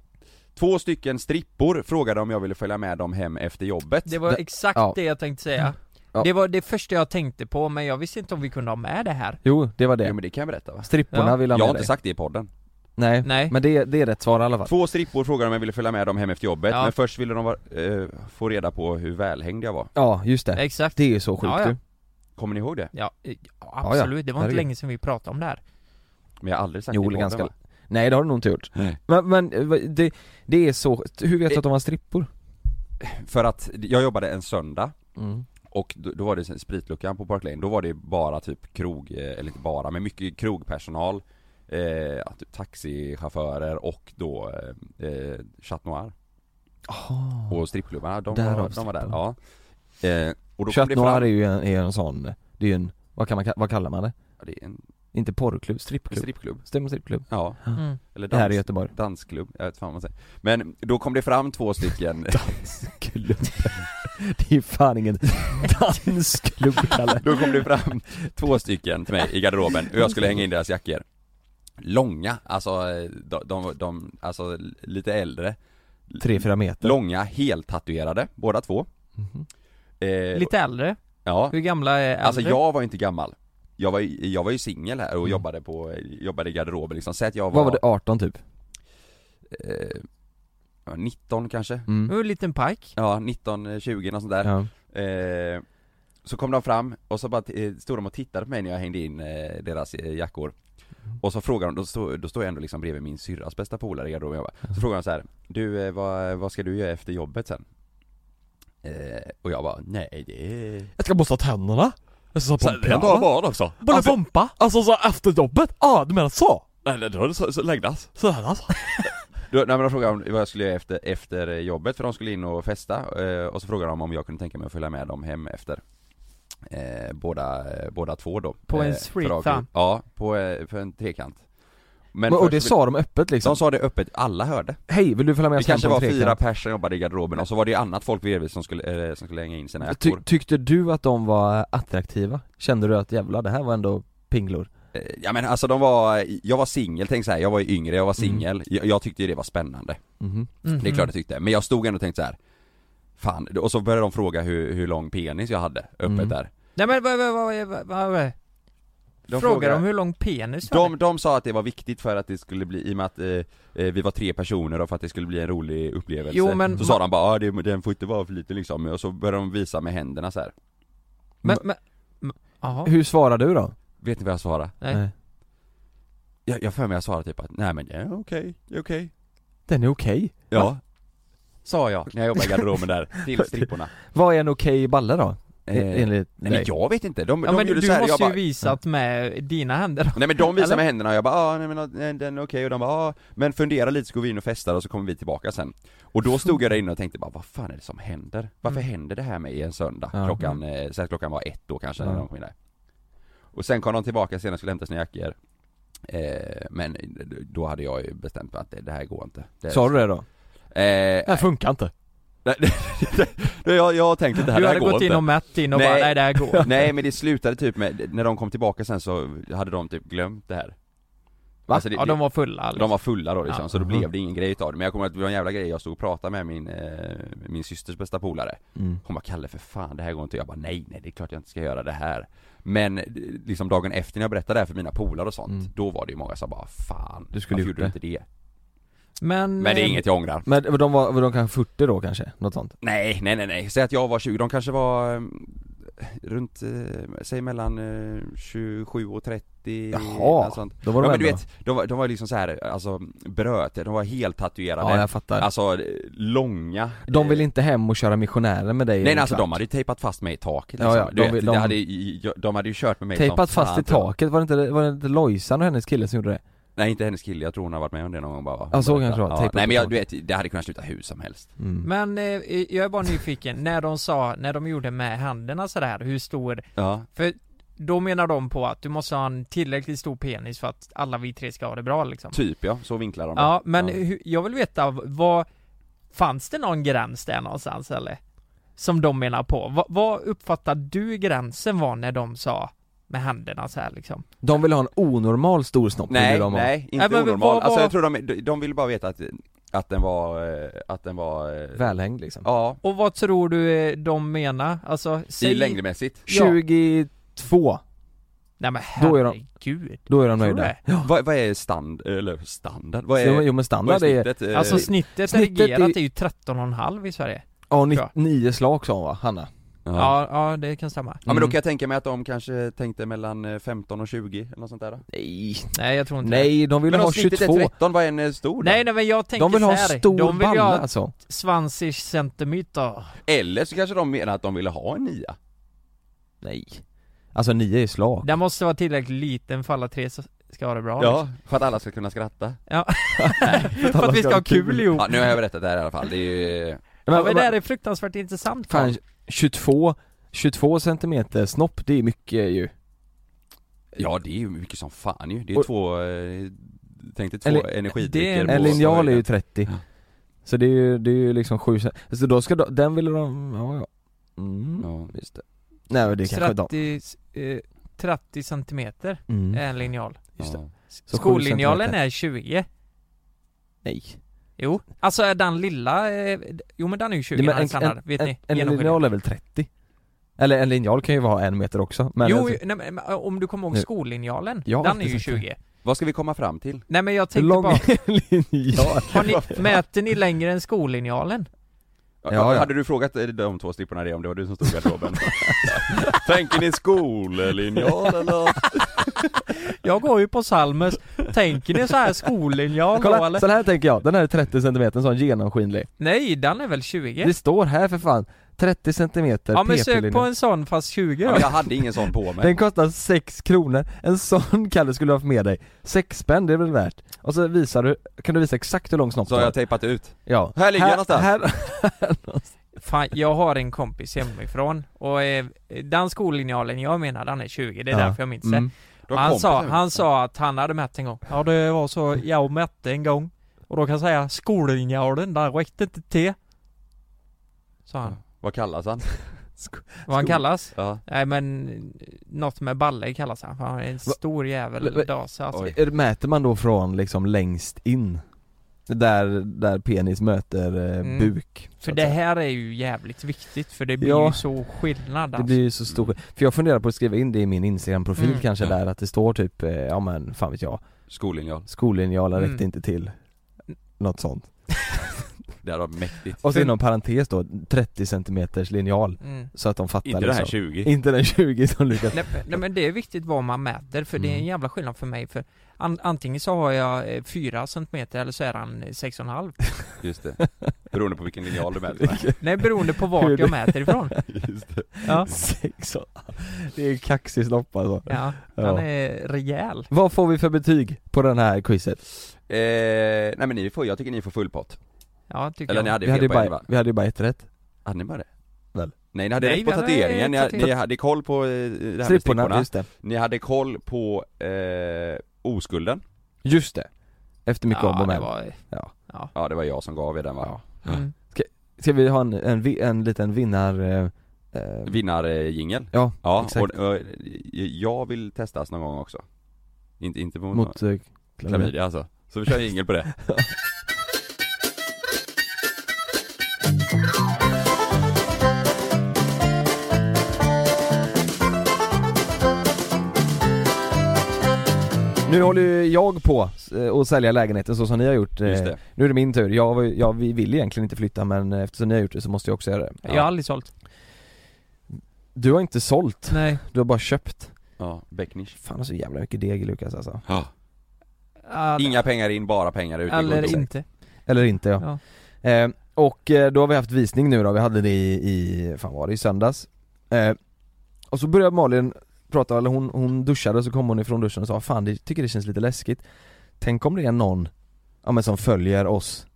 S3: Två stycken strippor frågade om jag ville följa med dem hem efter jobbet.
S4: Det var exakt det jag tänkte säga
S3: Mm. Ja.
S4: Det var det första jag tänkte på men jag visste inte om vi kunde ha med det här
S2: Jo, det var det
S3: Jo men det kan jag berätta va?
S2: Stripporna
S4: Ja.
S2: vill ha
S3: Jag
S2: med
S3: har inte
S2: dig.
S3: sagt det i podden.
S2: Nej,
S4: Nej.
S2: men det, det är rätt svar i alla fall
S3: Två strippor frågade om jag ville följa med dem hem efter jobbet,
S4: Ja.
S3: men först ville de va- eh, få reda på hur välhängd jag var.
S2: Ja, just det
S4: Exakt
S2: Det är ju så sjukt
S4: Ja, ja.
S2: ju
S3: Kommer ni ihåg det?
S4: Ja, eh, absolut, det var inte
S2: Herregud.
S4: länge sedan vi pratade om det här
S3: Men jag har aldrig sagt
S2: Jo,
S3: det i podden
S2: ganska-
S3: va?
S2: Nej det har du nog inte gjort
S3: Nej.
S2: Men, men eh, vad- det, det är så, hur vet du att de var strippor?
S3: För att jag jobbade en söndag
S2: Mm.
S3: Och då, då var det sen spritluckan på Park Lane, då var det bara typ krog, eh, eller inte bara, men mycket krogpersonal eh, ja, typ Taxichaufförer och då eh, eh, Chat Noir och strippklubbarna, de, var,
S2: Därav
S3: de var där, ja eh, Och då kom
S2: Chat
S3: det fram,
S2: Noir är ju en, är en sån, det är ju en, vad, kan man, ka- vad kallar man det?
S3: Ja, det är en
S2: Inte porrklubb, strippklubb?
S3: strippklubb,
S2: Stämmer strippklubb?
S3: ja,
S4: Mm.
S3: eller
S2: Det här
S3: dans,
S2: i Göteborg
S3: dansklubb, jag vet fan vad man säger Men då kom det fram två stycken,
S2: Klubb Det är fan ingen dansklubb Kalle
S3: då kom det fram två stycken till mig i garderoben och jag skulle hänga in deras jackor Långa, alltså eh, de, de, de alltså lite äldre
S2: Tre, fyra meter
S3: Långa, heltatuerade, båda två
S2: Mhm.
S3: eh,
S4: Lite äldre,
S3: Ja,
S4: hur gamla är äldre?
S3: alltså jag var ju inte gammal Jag var, ju- jag var ju singel här och jobbade på, jobbade i garderoben liksom, säg att jag var,
S2: Mm. Vad var det, 18 typ?
S3: Eh, ja, 19 kanske?
S2: Mm.
S4: Och en liten pike
S3: Ja, 19, eh, 20 något sånt där
S2: Ja.
S3: eh, Så kom de fram och så bara t- eh, stod de och tittade på mig när jag hängde in eh, deras eh, jackor Och så frågade de, då, stod, då står jag ändå liksom bredvid min syrras bästa polare i garderoben jag bara, Så frågade de så här, du eh, vad, vad ska du göra efter jobbet sen? Eh, och jag bara, nej det är...
S2: Jag ska borsta tänderna Jag ska
S3: barn så
S4: Bara bompa!
S2: Alltså så efter jobbet? Ja, ah, du menar så?
S3: Nej nej, då är det så, så läggas
S2: Sådär alltså?
S3: då, Nej men de frågade om vad jag skulle göra efter, efter jobbet för de skulle in och festa eh, Och så frågade de om jag kunde tänka mig att följa med dem hem efter eh, båda, eh, båda två då
S4: På en
S3: Eh,
S4: street,
S3: för att-
S4: va?
S3: Ja, på, eh, på en trekant Men
S2: Men, och
S3: först-
S2: det sa de öppet liksom?
S3: de sa det öppet, alla hörde
S2: Hej, vill du följa med
S3: Det
S2: oss hem
S3: kanske
S2: på en
S3: var fyra
S2: trekant?
S3: personer som jobbade i garderoben och så var det ju annat folk bredvid som skulle, eh, som skulle hänga in sina
S2: Ty,
S3: jackor
S2: Tyckte du att de var attraktiva? Kände du att jävlar, det här var ändå pinglor?
S3: Eh, Ja men alltså de var, jag var singel, tänk så här, jag var ju yngre, jag
S2: Mm.
S3: var singel, jag, jag tyckte ju det var spännande
S2: Mhm.
S3: Det
S4: Mm.
S3: är klart jag tyckte, men jag stod ändå och tänkte så här. Fan, och så började de fråga hur, hur lång penis jag hade öppet
S2: Mm.
S3: där
S4: Nej men vad, vad, vad, vad, vad, vad?
S3: de
S4: Frågar de hur lång penis du
S3: de,
S4: hade?
S3: de sa att det var viktigt för att det skulle bli, i och med att eh, eh, vi var tre personer och för att det skulle bli en rolig upplevelse
S4: Jo, men-
S3: Så sa de bara ah, det, den får inte vara för liten liksom, och så började de visa med händerna så här.
S4: Men, men, men, jaha,
S2: Hur svarade du då?
S3: Vet ni vad jag svarade?
S4: nej.
S2: Nej.
S3: Jag, jag för mig jag svarade typ att, nej men det är okej, det är okej
S2: Den är okej
S3: Ja Sa jag när jag jobbade i garderoben där, till stripporna
S2: Vad är en okej balle då? Eh, enligt
S3: Nej men
S2: dig.
S3: jag vet inte, de,
S4: ja,
S3: de
S4: men
S3: gjorde
S4: du
S3: så här,
S4: måste
S3: jag bara,
S4: ju visat med dina händer
S3: Nej men de visade
S4: Eller?
S3: med händerna och jag bara ah, nej men ah, nej, den är okej och de bara ah, men fundera lite så går vi in och festar och så kommer vi tillbaka sen Och då stod jag där inne och tänkte bara vad fan är det som händer? Varför
S4: Mm.
S3: händer det här med en söndag?
S2: Ja.
S3: Klockan, eh, så att klockan var ett då kanske när
S2: Ja.
S3: de kom in där Och sen kom de tillbaka sen och skulle hämta sina jackor eh, Men då hade jag ju bestämt mig att det, det här går inte det
S2: Sa du det då?
S3: Eh,
S2: Det funkar inte
S3: Nej, jag, jag har tänkt att det här,
S4: Du
S3: det här
S4: hade
S3: går
S4: gått in
S3: inte.
S4: och mätt in och bara, nej, det här går inte.
S3: Nej men det slutade typ med, när de kom tillbaka sen så hade de typ glömt det här Alltså,
S4: Va? Ja, de var fulla, liksom.
S3: De var fulla då liksom,
S4: Ja.
S3: så då
S2: Mm-hmm.
S4: Mhm.
S3: blev det ingen grej utav det Men jag kommer ihåg att det var en jävla grej, jag stod och pratade med min, eh, min systers bästa polare
S2: Mm.
S3: Hon bara 'Kalle för fan, det här går inte' Jag bara 'Nej, nej det är klart jag inte ska göra det här' Men eh, liksom dagen efter när jag berättade det här för mina polare och sånt, då var det ju många som bara 'Fan,
S2: Mm. Du skulle
S3: varför
S2: gjort
S3: gjorde du inte det?'
S4: Men,
S3: Men det är
S4: eh,
S3: inget jag ångrar
S2: Men de var, var de kanske 40 då kanske? Något sånt?
S3: Nej, nej, nej, nej. Säg att jag var 20, de kanske var eh, runt, eh, säg mellan eh, 27 och 30
S2: Jaha,
S3: något sånt.
S2: då var de
S3: ja, men du
S2: ändå-
S3: vet, de var, de var liksom så här, alltså bröt, de var helt tatuerade
S2: Ja, jag fattar.
S3: Alltså eh, långa eh,
S2: De vill inte hem och köra missionärer med dig
S3: Nej, nej
S2: en
S3: alltså
S2: kvart.
S3: de hade ju tejpat fast mig i taket
S2: Ja,
S3: liksom.
S2: ja,
S3: du
S2: de
S3: de,
S2: vill-
S3: vet,
S2: de-
S3: de... Hade, ju- de hade ju kört med mig
S2: Tejpat
S3: som
S2: fast
S3: fan,
S2: i
S3: tror jag.
S2: taket, var det inte, var det inte Lojsan och hennes kille som gjorde det?
S3: Nej inte hennes kille, jag tror hon har varit med om det någon gång bara
S2: Ja, så kanske det var.
S3: ja,
S2: Tejpat
S3: Nej men
S2: på
S3: jag, du vet, det hade kunnat sluta hur som helst
S4: men eh, jag är bara nyfiken, när de sa, när de gjorde med händerna sådär, hur stor
S3: Ja,
S4: För då menar de på att du måste ha en tillräckligt stor penis för att alla vi tre ska ha det bra liksom
S3: typ ja, så vinklar de det.
S4: Ja, men hu- jag vill veta vad Fanns det någon gräns där någonstans eller? Som de menar på. Va, vad uppfattar du gränsen var när de sa med händerna så här liksom?
S2: De vill ha en onormal stor snopp
S3: Nej,
S2: vill de ha.
S3: nej, inte onormal. Alltså jag tror de, de ville bara veta att, att den var, eh, att den var eh,
S2: Välhängd liksom
S3: Ja,
S4: Och vad tror du eh, de menar? Alltså,
S3: i
S4: säg...
S3: längdmässigt
S2: 22
S4: Nej men
S2: Då är de-
S4: herregud.
S2: Då är de
S4: Tror du
S2: nöjda
S4: det?
S3: Vad, vad är stand, eller standard? Vad
S2: Jo,
S3: är,
S2: men- jo, men standard
S3: vad
S2: är-
S3: snittet? Eh,
S4: Alltså snittet,
S2: Snittet
S4: erigerat
S2: är-
S4: är ju 13,5 i Sverige.
S2: Ja, ni, nio slag sa hon va, Hanna?
S3: ja. Ja.
S4: Ja, ja det kan stämma.
S3: men då kan jag tänka mig att de kanske tänkte mellan eh, 15 och 20 eller något sånt där då.
S2: Nej,
S4: Nej jag tror inte det.
S2: nej de vill
S3: Men
S2: ha
S3: om snittet
S2: 22
S3: är 13, vad är en eh, stor då?
S4: Nej nej men jag tänker
S2: De vill ha
S4: så här.
S2: stor
S4: de vill ju
S2: balla
S4: ha
S2: alltså
S4: svans i centimeter.
S3: Eller så kanske de menar att de ville ha en nia
S2: Nej Alltså nio är slag
S4: Den måste vara tillräckligt liten för alla tre så ska ha det bra
S3: Ja,
S4: liksom.
S3: för att alla ska kunna skratta
S4: ja. För att vi ska ha kul ihop
S3: Ja, nu har jag berättat det här i alla fall, det är ju...
S4: Ja men det här är fruktansvärt intressant
S2: Fan,
S4: fan.
S2: 22, 22 centimeter snopp det är mycket ju
S3: Ja det är ju mycket som fan ju, det är
S2: Och-
S3: två, eh, tänkte två
S2: Eller-
S4: det är
S3: energidrycker
S4: en-
S3: på-
S2: En linjal är ju
S3: på-
S2: 30 Så det är ju, det är ju liksom 7 Så då ska de, den ville de, ja ja mm.
S3: Ja.
S2: Just det Nej men det kanske de
S4: 30, eh, 30 centimeter
S2: Mm.
S4: är en linjal
S2: Just det.
S3: Ja.
S2: Så sju
S4: Skollinjalen
S2: centimeter.
S4: är 20
S2: Nej
S4: Jo, alltså är den lilla, eh, d- jo men den är ju 20
S2: Nej,
S4: den
S2: men
S4: här
S2: en,
S4: standard,
S2: en,
S4: vet
S2: en,
S4: ni?
S2: en
S4: Genomskinlig.
S2: linjal är väl 30? Eller en linjal kan ju vara en meter också men
S4: Jo,
S2: alltså,
S4: ju- nej, men men om du kommer ihåg
S2: Nu.
S4: skollinjalen,
S2: Jag har
S4: den är
S2: alltid
S4: ju
S2: sagt det.
S4: 20
S3: Vad ska vi komma fram till?
S4: Nej men jag
S2: Hur
S4: tänkte
S2: lång
S4: bara,
S2: är en linjal?
S4: har ni, mäter ni längre än skollinjalen?
S2: Ja, ja.
S3: Hade du frågat eh, de två slipporna det om det var du som stod i garderoben? Tänker ni skollinjal eller?
S4: Jag går ju på Salmers, tänker ni så här skollinjal då
S2: Kolla,
S4: eller?
S2: sån här tänker jag, den här är 30 cm sån genomskinlig
S4: Nej, den är väl 20?
S2: Det står här för fan 30 cm
S4: Ja men sök på
S2: PP-linje
S4: en sån fast 20
S3: Ja,
S4: då.
S3: men jag hade ingen sån på mig
S2: Den kostar 6 kronor, en sån Kalle skulle du haft med dig 6 spänn, det är väl värt? Och så visar du, kan du visa exakt hur lång snopp
S3: Så
S2: du
S3: har
S2: har?
S3: jag tejpat ut
S2: Ja
S3: Här ligger jag någonstans.
S2: Här,
S4: Fan, jag har en kompis hemifrån och eh, den skollinjalen jag menar den är 20, det är
S2: Ja.
S4: därför jag minns det.
S2: mm.
S3: Du har
S4: Han,
S3: kompisar
S4: sa,
S3: nu.
S4: han sa att han hade mätt en gång. Ja det var så, jag mätte en gång. Och då kan jag säga skollinjalen, den räckte inte till. Sa han.
S3: Vad kallas han?
S4: Vad han
S3: Skol-
S4: kallas?
S3: Ja.
S4: Nej men, eh, något med balle kallas han. för Han är en stor
S2: Va-
S4: jävel
S2: va-
S4: dasa alltså.
S3: Oj.
S2: Mäter man då från liksom längst in? Där, där penis möter eh,
S4: Mm.
S2: buk så
S4: För
S2: att
S4: det
S2: säga.
S4: här är ju jävligt viktigt för det blir
S2: Ja.
S4: ju så skillnad
S2: Det
S4: alltså.
S2: blir ju så stor För jag funderar på att skriva in det i min Instagram-profil
S4: Mm.
S2: kanske
S3: Ja.
S2: där att det står typ, eh, ja men fan vet jag
S3: Skollinjal
S2: Skollinjalen
S4: Mm.
S2: räckte inte till Något sånt
S3: Det hade varit mäktigt.
S2: Och så inom parentes då, 30 cm linjal
S4: Mm.
S2: Så att de fattar
S3: Inte den här
S2: liksom.
S3: 20.
S2: Inte den 20 som Lukas
S4: Nej, men- nej men det är viktigt vad man mäter för det är en jävla skillnad för mig för an, antingen så har jag eh, 4 centimeter eller så är han eh, 6,5
S3: Just det. Beroende på vilken linjal du mäter
S4: Nej beroende på vart jag mäter ifrån
S3: Just det.
S4: Ja.
S2: Sex och... Det är kaxig snopp alltså
S4: Ja, han är rejäl
S2: Vad får vi för betyg på den här quizet?
S3: Eh, nej men ni får, jag tycker ni får full pott.
S4: Ja tycker
S3: Eller
S4: jag
S3: ni hade
S2: vi,
S3: fel
S2: hade ju
S3: poäng
S2: bara,
S3: va?
S2: vi hade ju bara ett rätt
S3: Hade ni bara det?
S2: Väl?
S3: Nej ni hade
S4: Nej,
S3: rätt på
S4: vi hade
S3: tatueringen, ni,
S4: tatuering.
S3: ni hade koll på eh, det här med
S2: Stripporna,
S3: stripporna.
S2: just det
S3: Ni hade koll på eh, oskulden.
S2: Just det Efter mycket om
S4: Ja
S2: och
S4: det
S2: men
S4: var
S2: Ja.
S4: Ja,
S3: Ja det var jag som gav er den va?
S4: mm.
S2: Ska vi ha en, en, vi- en liten vinnar... Eh, eh,
S3: Vinnarjingel.
S2: ja,
S3: Ja,
S2: exakt.
S3: och, och jag vill testas någon gång också. Inte, inte på
S2: mot eh, klamydia.
S3: klamydia alltså. Så vi kör jingel på det.
S2: Nu håller ju jag på eh, att sälja lägenheten så som ni har gjort. eh,
S3: Just det.
S2: Nu är det min tur. Jag, var ju- jag vi vill egentligen inte flytta men eh, eftersom ni har gjort det så måste jag också göra det.
S4: Jag har aldrig sålt
S2: Du har inte sålt,
S4: Nej
S2: du har bara köpt.
S3: Ja, Becknish.
S2: Fan har så jävla mycket deg Lukas alltså.
S3: Ja.
S4: All,
S3: Inga pengar in, bara pengar ut. Det går
S4: Eller
S3: inte.
S4: inte
S2: Eller inte ja.
S4: Ja,
S2: Eh, och eh, då har vi haft visning nu då, vi hade det i, i fan var det, i söndags eh, Och så började Malin prata, eller hon, hon duschade så kom hon ifrån duschen och sa Fan det, tycker det känns lite läskigt Tänk om det är någon, ja men som följer oss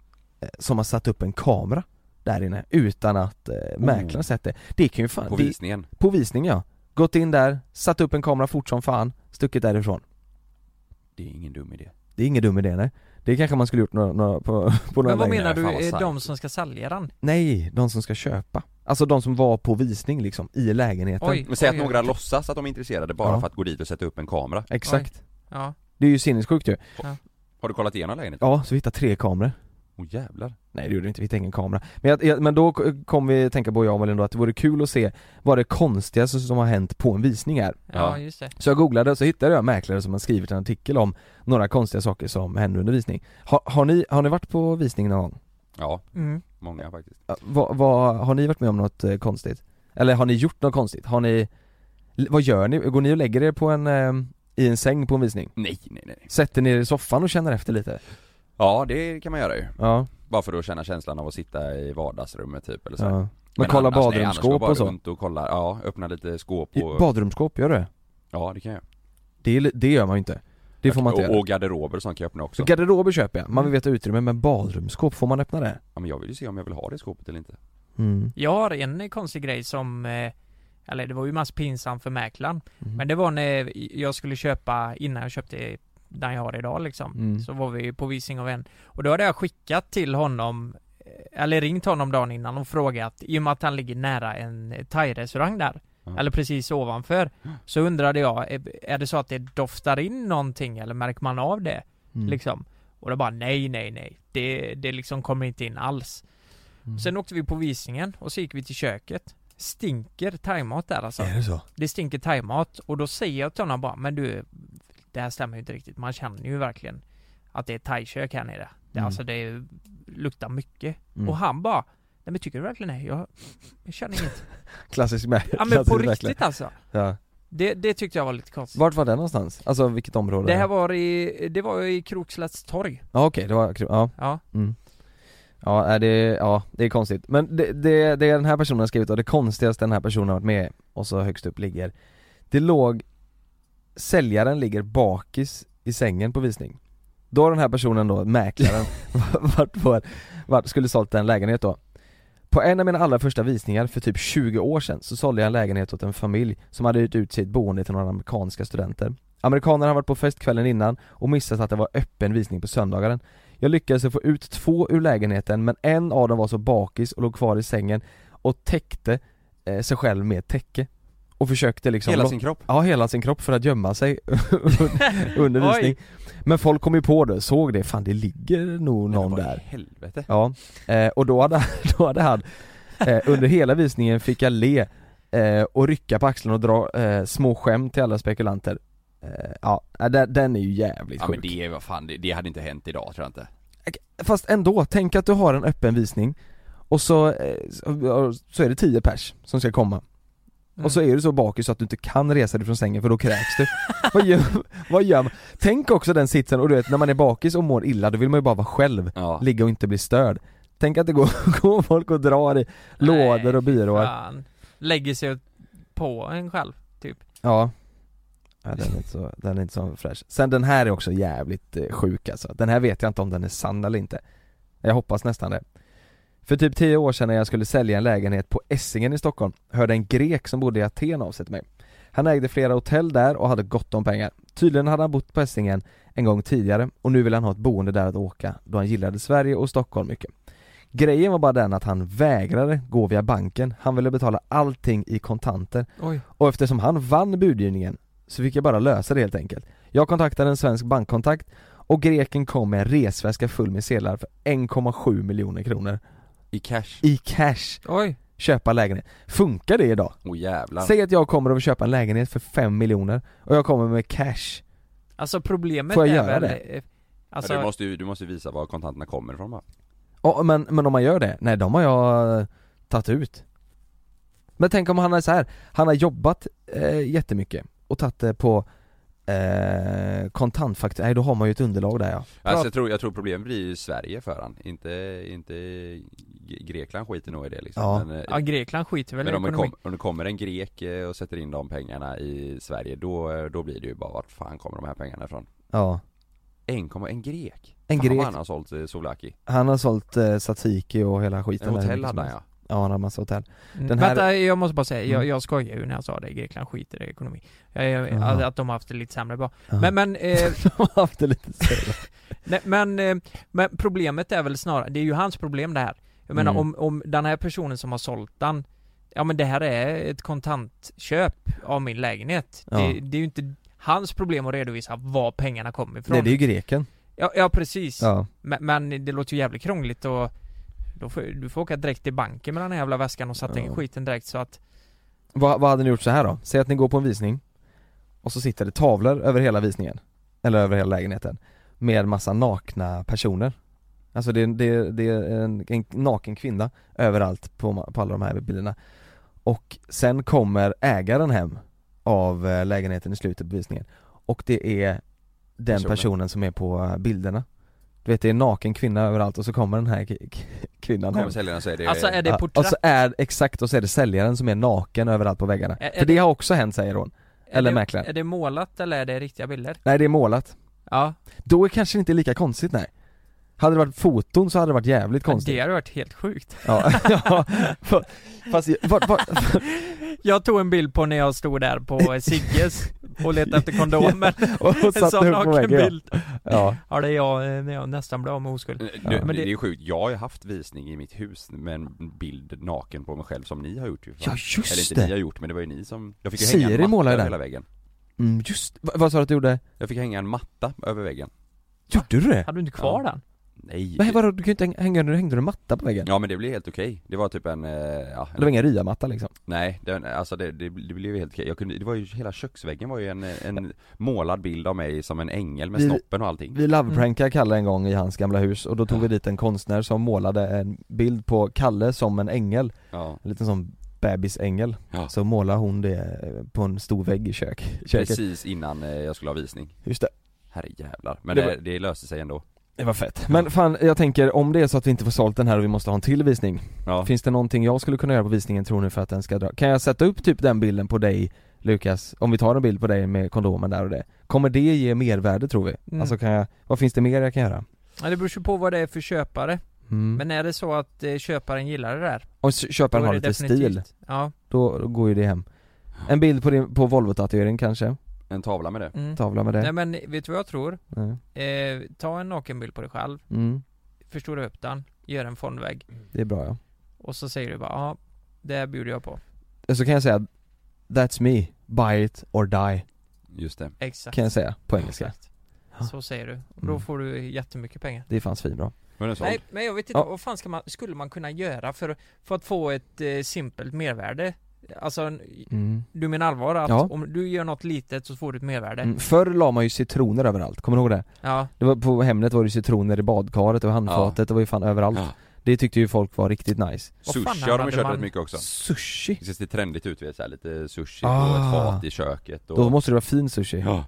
S2: eh, Som har satt upp en kamera där inne utan att eh, mäklaren sett det Det kan ju fan,
S3: På
S2: det,
S3: visningen.
S2: på visning ja Gått in där, satt upp en kamera fort som fan, stuckit därifrån
S3: Det är ingen dum idé.
S2: Det är ingen dum idé nej Det kanske man skulle gjort några, några, på, på några
S4: Men vad
S2: lägenheter.
S4: menar
S3: fan vad
S4: du, är
S3: sarg.
S4: de som ska sälja den?
S2: Nej, de som ska köpa. Alltså de som var på visning liksom, i lägenheten.
S4: Oj,
S3: Men säg att
S4: oj, oj.
S3: några låtsas att de är intresserade bara
S2: Ja.
S3: för att gå dit och sätta upp en kamera.
S2: Exakt.
S4: Ja,
S2: Det är ju sinnessjukt ju.
S3: Har du kollat igenom lägenheten?
S2: Ja, så vi hittade tre kameror.
S3: Åh jävlar.
S2: Nej det gjorde vi inte, vi hittade ingen kamera. Men, jag, jag, men då k- kom vi tänka på, jag och Malin då, att det vore kul att se vad det konstigaste som har hänt på en visning är.
S4: ja just det
S2: Så jag googlade och så hittade jag en mäklare som har skrivit en artikel om några konstiga saker som händer under visning. Har, har, ni, har ni varit på visning någon gång?
S3: Ja,
S4: mm.
S3: många faktiskt.
S2: Ja, Vad, vad, har ni varit med om något eh, konstigt? Eller har ni gjort något konstigt? Har ni, l- vad gör ni? Går ni och lägger er på en, eh, i en säng på en visning?
S3: Nej, nej, nej.
S2: Sätter ni er i soffan och känner efter lite?
S3: Ja, det kan man göra ju.
S2: Ja,
S3: Bara för att känna känslan av att sitta i vardagsrummet typ eller så. här.
S2: ja. Men
S3: Men
S2: kolla
S3: annars- nej, annars går
S2: badrumsskåp
S3: jag bara
S2: och så?
S3: runt och kollar, ja, öppna lite skåp
S2: I-
S3: och...
S2: Badrumsskåp, gör du det?
S3: ja, det kan jag.
S2: det? är li- Det gör man ju inte. Det får man inte
S3: och, Mm.
S2: göra.
S3: och garderober och sånt kan jag öppna också.
S2: Garderober köper jag, man vill veta utrymme, men badrumsskåp, får man öppna det?
S3: Ja, men jag vill ju se om jag vill ha det skåpet eller inte.
S2: Mm.
S4: Jag har en konstig grej som eh, Eller det var ju mest pinsamt för mäklaren
S2: Mm.
S4: Men det var när jag skulle köpa innan jag köpte den jag har idag liksom
S2: Mm.
S4: Så var vi ju på visning av en Och då hade jag skickat till honom eh, Eller ringt honom dagen innan och frågat I och med att han ligger nära en eh, thai-restaurang där
S3: Ja.
S4: Eller precis ovanför Så undrade jag är- Är det så att det doftar in någonting eller märker man av det?
S2: Mm.
S4: Liksom Och då bara nej nej nej Det, det liksom kommer inte in alls
S2: Mm.
S4: Sen åkte vi på visningen och så gick vi till köket Stinker thaimat där alltså
S2: Är det så?
S4: Det stinker thaimat och då säger jag till honom bara Men du Det här stämmer ju inte riktigt Man känner ju verkligen Att det är thaikök här nere det,
S2: Mm.
S4: Alltså det luktar mycket
S2: Mm.
S4: Och han bara Nej men tycker du verkligen det? Jag, jag känner inget
S2: Klassisk med.
S4: Ja men på
S2: klassisk
S4: riktigt alltså
S2: Ja.
S4: det, det tyckte jag var lite konstigt
S2: Vart var det någonstans? Alltså vilket område?
S4: Det här var i, det var i Krokslätts torg
S2: Ja okej, det var, ja
S4: Ja,
S2: Ja, nej, det, ja, det är konstigt. Men det, det, det den här personen har skrivit och det konstigaste den här personen har varit med och så högst upp ligger Det låg, säljaren ligger bakis i sängen på visning Då har den här personen då, mäklaren, varit på, varit, skulle sålt en lägenhet då På en av mina allra första visningar för typ 20 år sedan så sålde jag en lägenhet åt en familj som hade hyrt ut sitt boende till några amerikanska studenter Amerikanerna har varit på fest kvällen innan och missat att det var öppen visning på söndagen jag lyckades få ut två ur lägenheten men en av dem var så bakis och låg kvar i sängen och täckte eh, sig själv med ett täcke och försökte liksom
S3: Hela
S2: lo-
S3: sin kropp.
S2: Ja, hela sin kropp för att gömma sig under visning Men folk kom ju på det, såg det, fan det ligger nog någon
S3: Men vad i
S2: där
S3: helvete.
S2: Ja, eh, och då hade, då hade han eh, Under hela visningen fick jag le eh, och rycka på axlarna och dra eh, små skämt till alla spekulanter eh, Ja, den, den är ju jävligt
S3: Ja men
S2: sjuk
S3: det, vad fan, det, det hade inte hänt idag tror jag inte.
S2: fast ändå, tänk att du har en öppen visning och så, eh, så- så är det 10 pers som ska komma
S3: Mm.
S2: Och så är du så bakis så att du inte kan resa dig från sängen för då kräks du vad, gör, vad gör man? Tänk också den sitsen, och du vet när man är bakis och mår illa då vill man ju bara vara själv, ligga och inte bli störd Tänk att det går, går folk och drar i lådor och byråer
S4: Fan. Lägger sig på en själv, typ.
S2: Ja Ja, den, är inte så, den är inte så fräsch. Sen den här är också jävligt eh, sjuk alltså. Den här vet jag inte om den är sann eller inte. Jag hoppas nästan det. För typ 10 år sedan när jag skulle sälja en lägenhet på Essingen i Stockholm hörde en grek som bodde i Aten av sig till mig. Han ägde flera hotell där och hade gott om pengar. Tydligen hade han bott på Essingen en gång tidigare och nu ville han ha ett boende där att åka då han gillade Sverige och Stockholm mycket. Grejen var bara den att han vägrade gå via banken. Han ville betala allting i kontanter
S4: Oj.
S2: och eftersom han vann budgivningen så fick jag bara lösa det helt enkelt. Jag kontaktade en svensk bankkontakt och greken kom med en resväska full med sedlar för 1,7 miljoner kronor.
S3: I cash?
S2: I cash!
S4: Oj!
S2: Köpa lägenhet. Funkar det idag?
S3: Åh jävlar
S2: Säg att jag kommer och vill köpa en lägenhet för 5 miljoner och jag kommer med cash.
S4: Alltså problemet
S2: Får jag
S4: är
S2: göra
S4: väl...
S2: det?
S4: eh, Alltså,
S3: Men du måste ju, du måste ju visa var kontanterna kommer ifrån va?
S2: Ja, men, men om man gör det? Nej, de har jag eh, tagit ut. Men tänk om han är så här. han har jobbat eh, jättemycket och tagit det på eh, kontantfaktura, nej då har man ju ett underlag där ja.
S3: Alltså jag tror, jag tror problemet blir ju Sverige för han, inte, inte G- Grekland skiter nog i det liksom
S2: Ja.
S3: eh,
S4: ja, Grekland skiter väl i
S3: Men om det,
S4: ekonomi.
S3: kom, om det kommer en grek eh, och sätter in de pengarna i Sverige, då, eh, då blir det ju bara vart fan kommer de här pengarna ifrån?
S2: Ja.
S3: 1,1 grek?
S2: En
S3: fan, vad
S2: grek.
S3: han har sålt eh, Souvlaki
S2: Han har sålt eh, tzatziki och hela skiten
S3: En hotell
S2: där.
S3: hade han, ja.
S2: Ja, han har massa hotell.
S4: Mm,
S2: Den här,
S4: Vänta, jag måste bara säga, jag,
S2: Mm.
S4: jag skojar ju när jag sa det, Grekland skiter i ekonomi. Jag, jag,
S2: Jaha.
S4: Att de har haft det lite sämre bra.
S2: Ja.
S4: Men, men, eh,
S2: de har haft det lite sämre.
S4: nej, men, eh, men problemet är väl snarare, det är ju hans problem det här. Jag menar
S2: Mm.
S4: om, om den här personen som har sålt den, ja men det här är ett kontantköp av min lägenhet.
S2: Ja.
S4: Det, det är ju inte hans problem att redovisa var pengarna kommer ifrån.
S2: Nej det är ju greken.
S4: Ja, ja precis.
S2: Ja.
S4: Men, men det låter ju jävligt krångligt och då får, du får åka direkt till banken med den här jävla väskan och sätta in
S2: Ja.
S4: skiten direkt så att
S2: Vad, vad hade ni gjort så här då? Säg att ni går på en visning och så sitter det tavlor över hela visningen, eller över hela lägenheten, med massa nakna personer. Alltså det, är- det, är- det är en, en naken kvinna överallt på, ma- på alla de här bilderna. Och sen kommer ägaren hem av eh, lägenheten i slutet på visningen och det är den
S3: Personen.
S2: personen som är på eh, bilderna. Du vet det är en naken kvinna överallt och så kommer den här k- k- kvinnan
S3: Kommer
S2: hem.
S3: säljaren så är det-
S4: Alltså, är det
S2: Ja,
S4: porträtt?
S2: och så är, exakt, och så är det säljaren som är naken överallt på väggarna.
S4: Är- är
S2: För det,
S4: det-
S2: har också hänt säger hon. Eller
S4: är det,
S2: mäklaren.
S4: är det målat eller är det riktiga bilder?
S2: Nej det är målat.
S4: Ja.
S2: Då är kanske det inte lika konstigt nej. Hade det varit foton så hade det varit jävligt konstigt.
S4: Det har varit helt sjukt
S2: Ja, ja. Fa- Fast, var, var,
S4: Jag tog en bild på när jag stod där på Sigges och letade efter kondomer
S2: och
S4: En
S2: satte
S4: sån
S2: ihop på
S4: naken
S2: väggen, ja.
S4: bild
S2: Ja.
S4: Ja det är jag, eh, när jag nästan blev av med oskuld
S3: Du,
S4: typ. Men
S3: det,
S4: det-
S3: är ju sjukt, jag har ju haft visning i mitt hus med en bild naken på mig själv som ni har gjort ju fan.
S2: Ja, just
S3: Eller inte
S2: det.
S3: ni har gjort men det var ju ni som, jag fick ju
S2: Siri
S3: hänga en matta
S2: målade
S3: över
S2: den.
S3: hela väggen
S2: Mm, just, vad, vad sa du att du gjorde?
S3: Jag fick hänga en matta över väggen
S2: Gjorde du det?
S4: Hade du inte kvar den?
S3: Nej!
S2: Nej vadå, du kan ju inte häng- hänga, nu hängde du en matta på väggen?
S3: Ja men det blev helt okej, det var typ en, eh, ja,
S2: Det var ingen ryamatta liksom?
S3: Nej, den, alltså det, det, det blev ju helt okej. jag kunde, det var ju, hela köksväggen var ju en, en målad bild av mig som en ängel med
S2: Vi-
S3: snoppen och allting
S4: Mm.
S2: Vi loveprankade Kalle en gång i hans gamla hus och då tog vi dit en konstnär som målade en bild på Kalle som en ängel
S3: Ja.
S2: En liten sån bebisängel Så målade hon det eh, på en stor vägg i kök, köket
S3: Precis innan eh, jag skulle ha visning
S2: Just det
S3: Herrejävlar, men
S2: Det
S3: det,
S2: var-
S3: det, löste sig ändå
S2: Det var fett Men fan, jag tänker om det är så att vi inte får sålt den här och vi måste ha en till visning
S3: Ja.
S2: Finns det någonting jag skulle kunna göra på visningen tror ni för att den ska dra? Kan jag sätta upp typ den bilden på dig Lukas? Om vi tar en bild på dig med kondomen där och det Kommer det ge mervärde tror vi?
S4: Mm.
S2: Alltså kan jag, vad finns det mer jag kan göra?
S4: Ja, det beror ju på vad det är för köpare
S2: Mm.
S4: Men är det så att eh, köparen gillar det där?
S2: Om s- köparen
S4: då är
S2: har
S4: det
S2: lite stil,
S4: definitivt. Ja,
S2: då, då går ju det hem En bild på, din, på Volvo-tatueringen kanske?
S3: En tavla med det
S4: Mm.
S2: Tavla med det?
S4: nej men vet du vad jag tror?
S2: Nej.
S4: Eh, ta en nakenbild på dig själv
S2: Mm.
S4: Förstora upp den, gör en fondvägg
S2: Det är bra ja
S4: Och så säger du bara ja, det här bjuder jag på
S2: Eh, Så kan jag säga That's me, buy it or die
S3: Just det
S4: Exakt
S2: Kan jag säga på engelska
S4: Så säger du, Och då
S2: Mm.
S4: får du jättemycket pengar
S2: Det är fan svinbra
S3: Men den
S4: Nej, men jag vet inte,
S2: Ja.
S4: vad fan ska man, skulle man kunna göra för, för att få ett eh, simpelt mervärde? Alltså, du menar allvar att
S2: Ja.
S4: om du gör något litet så får du ett mervärde?
S2: Mm, förr la man ju citroner överallt, kommer du ihåg det?
S4: Ja.
S2: det var, på Hemnet var det ju citroner i badkaret och handfatet, det var ju fan överallt Det tyckte ju folk var riktigt nice
S3: Sushi har de ju kört rätt mycket också
S2: Sushi?
S3: Det ser trendigt ut, vet, så här, lite sushi och
S2: Ah.
S3: ett fat i köket och...
S2: Då måste det vara fin sushi
S3: Ja.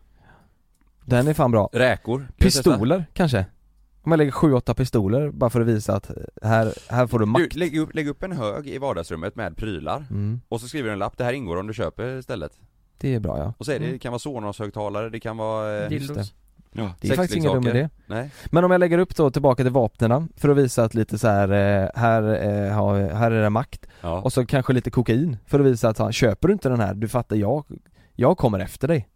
S2: Den är fan bra
S3: Räkor.
S2: Pistoler kanske? Om jag lägger 7-8 pistoler bara för att visa att eh, här, här får du
S3: Du,
S2: makt
S3: lägg, upp, lägg upp en hög i vardagsrummet med prylar
S2: Mm.
S3: och så skriver du en lapp, det här ingår om du köper istället
S2: Det är bra ja
S3: Och så är det, det kan vara Sonos-högtalare, det kan vara... eh,
S2: Just det.
S3: Ja,
S2: Det är faktiskt ingen dum
S3: sexleksaker.
S2: idé
S3: Nej.
S2: Men om jag lägger upp då tillbaka till vapnena för att visa att lite så här, eh, här, eh, har- här är det makt
S3: Ja.
S2: Och så kanske lite kokain för att visa att han, köper du inte den här, du fattar jag, jag kommer efter dig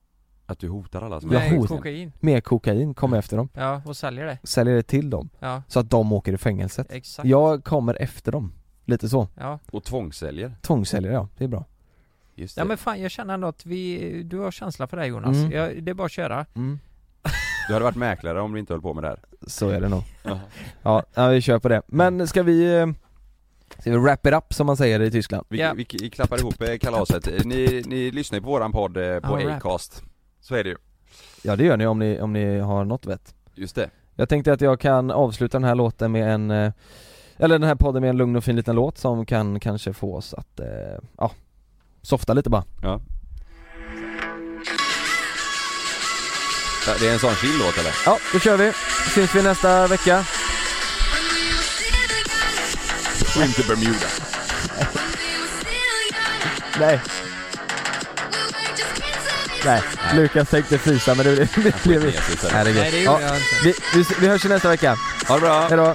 S3: Att du hotar alla som
S2: Alltså, Jag
S4: Med
S2: hotar-
S4: kokain.
S2: Med kokain, kommer efter dem
S4: Ja, och säljer det.
S2: Säljer det till dem
S4: Ja.
S2: Så att de åker i fängelset
S4: Exakt.
S2: Jag kommer efter dem, lite så
S4: Ja.
S3: Och tvångssäljer
S2: Tvångssäljare ja, det är bra
S3: Just
S4: Ja men fan jag känner ändå att vi, du har känsla för det här, Jonas.
S2: Mm.
S4: Ja, det är bara att köra.
S2: Mm.
S3: Du hade varit mäklare om du inte höll på med det här
S2: Så är det nog Ja, ja vi kör på det. Men ska vi, eh, ska vi wrap it up som man säger i Tyskland?
S3: Vi, vi, vi klappar ihop eh, kalaset, Eh, ni, ni lyssnar ju på våran podd eh, på
S2: Ja, rap.
S3: Acast Så är det ju
S2: Ja det gör ni om ni, om ni har något vett
S3: Just det
S2: Jag tänkte att jag kan avsluta den här låten med en eh, Eller den här podden med en lugn och fin liten låt som kan kanske få oss att, eh, ja Softa lite bara
S3: Ja Ja, Det är en sån chill låt eller?
S2: Ja, då kör vi! Syns vi nästa vecka
S3: Swim to Bermuda
S2: Nej Nej, Lukas tänkte frysa men det blev... Det blev Herregud.
S4: Nej, det
S2: ja,
S4: gjorde jag inte.
S2: vi, vi, vi hörs ju nästa vecka
S3: Ha det bra!
S2: Hejdå!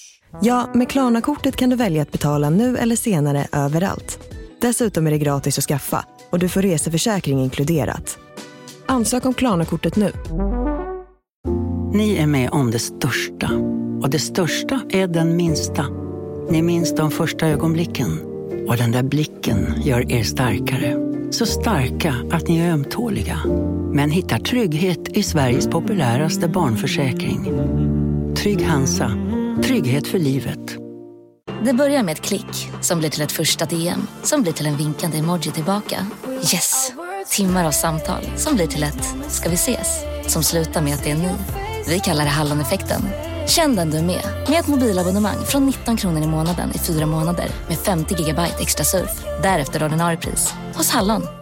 S1: Ja, med Klarna-kortet kan du välja att betala nu eller senare överallt. Dessutom är det gratis att skaffa och du får reseförsäkring inkluderat. Ansök om Klarna-kortet nu.
S7: Ni är med om det största. Och det största är den minsta. Ni minns de första ögonblicken. Och den där blicken gör er starkare. Så starka att ni är ömtåliga. Men hittar trygghet i Sveriges populäraste barnförsäkring. Trygg Hansa. Trygghet för livet.
S8: Det börjar med ett klick som blir till ett första DM som blir till en vinkande emoji tillbaka. Yes! Timmar av samtal som blir till ett “ska vi ses?” som slutar med att det är ni. Vi kallar det Halloneffekten. Känn den du är med, med ett mobilabonnemang från 19 kronor i månaden i fyra månader med 50 gigabyte extra surf. Därefter ordinarie pris, hos Hallon.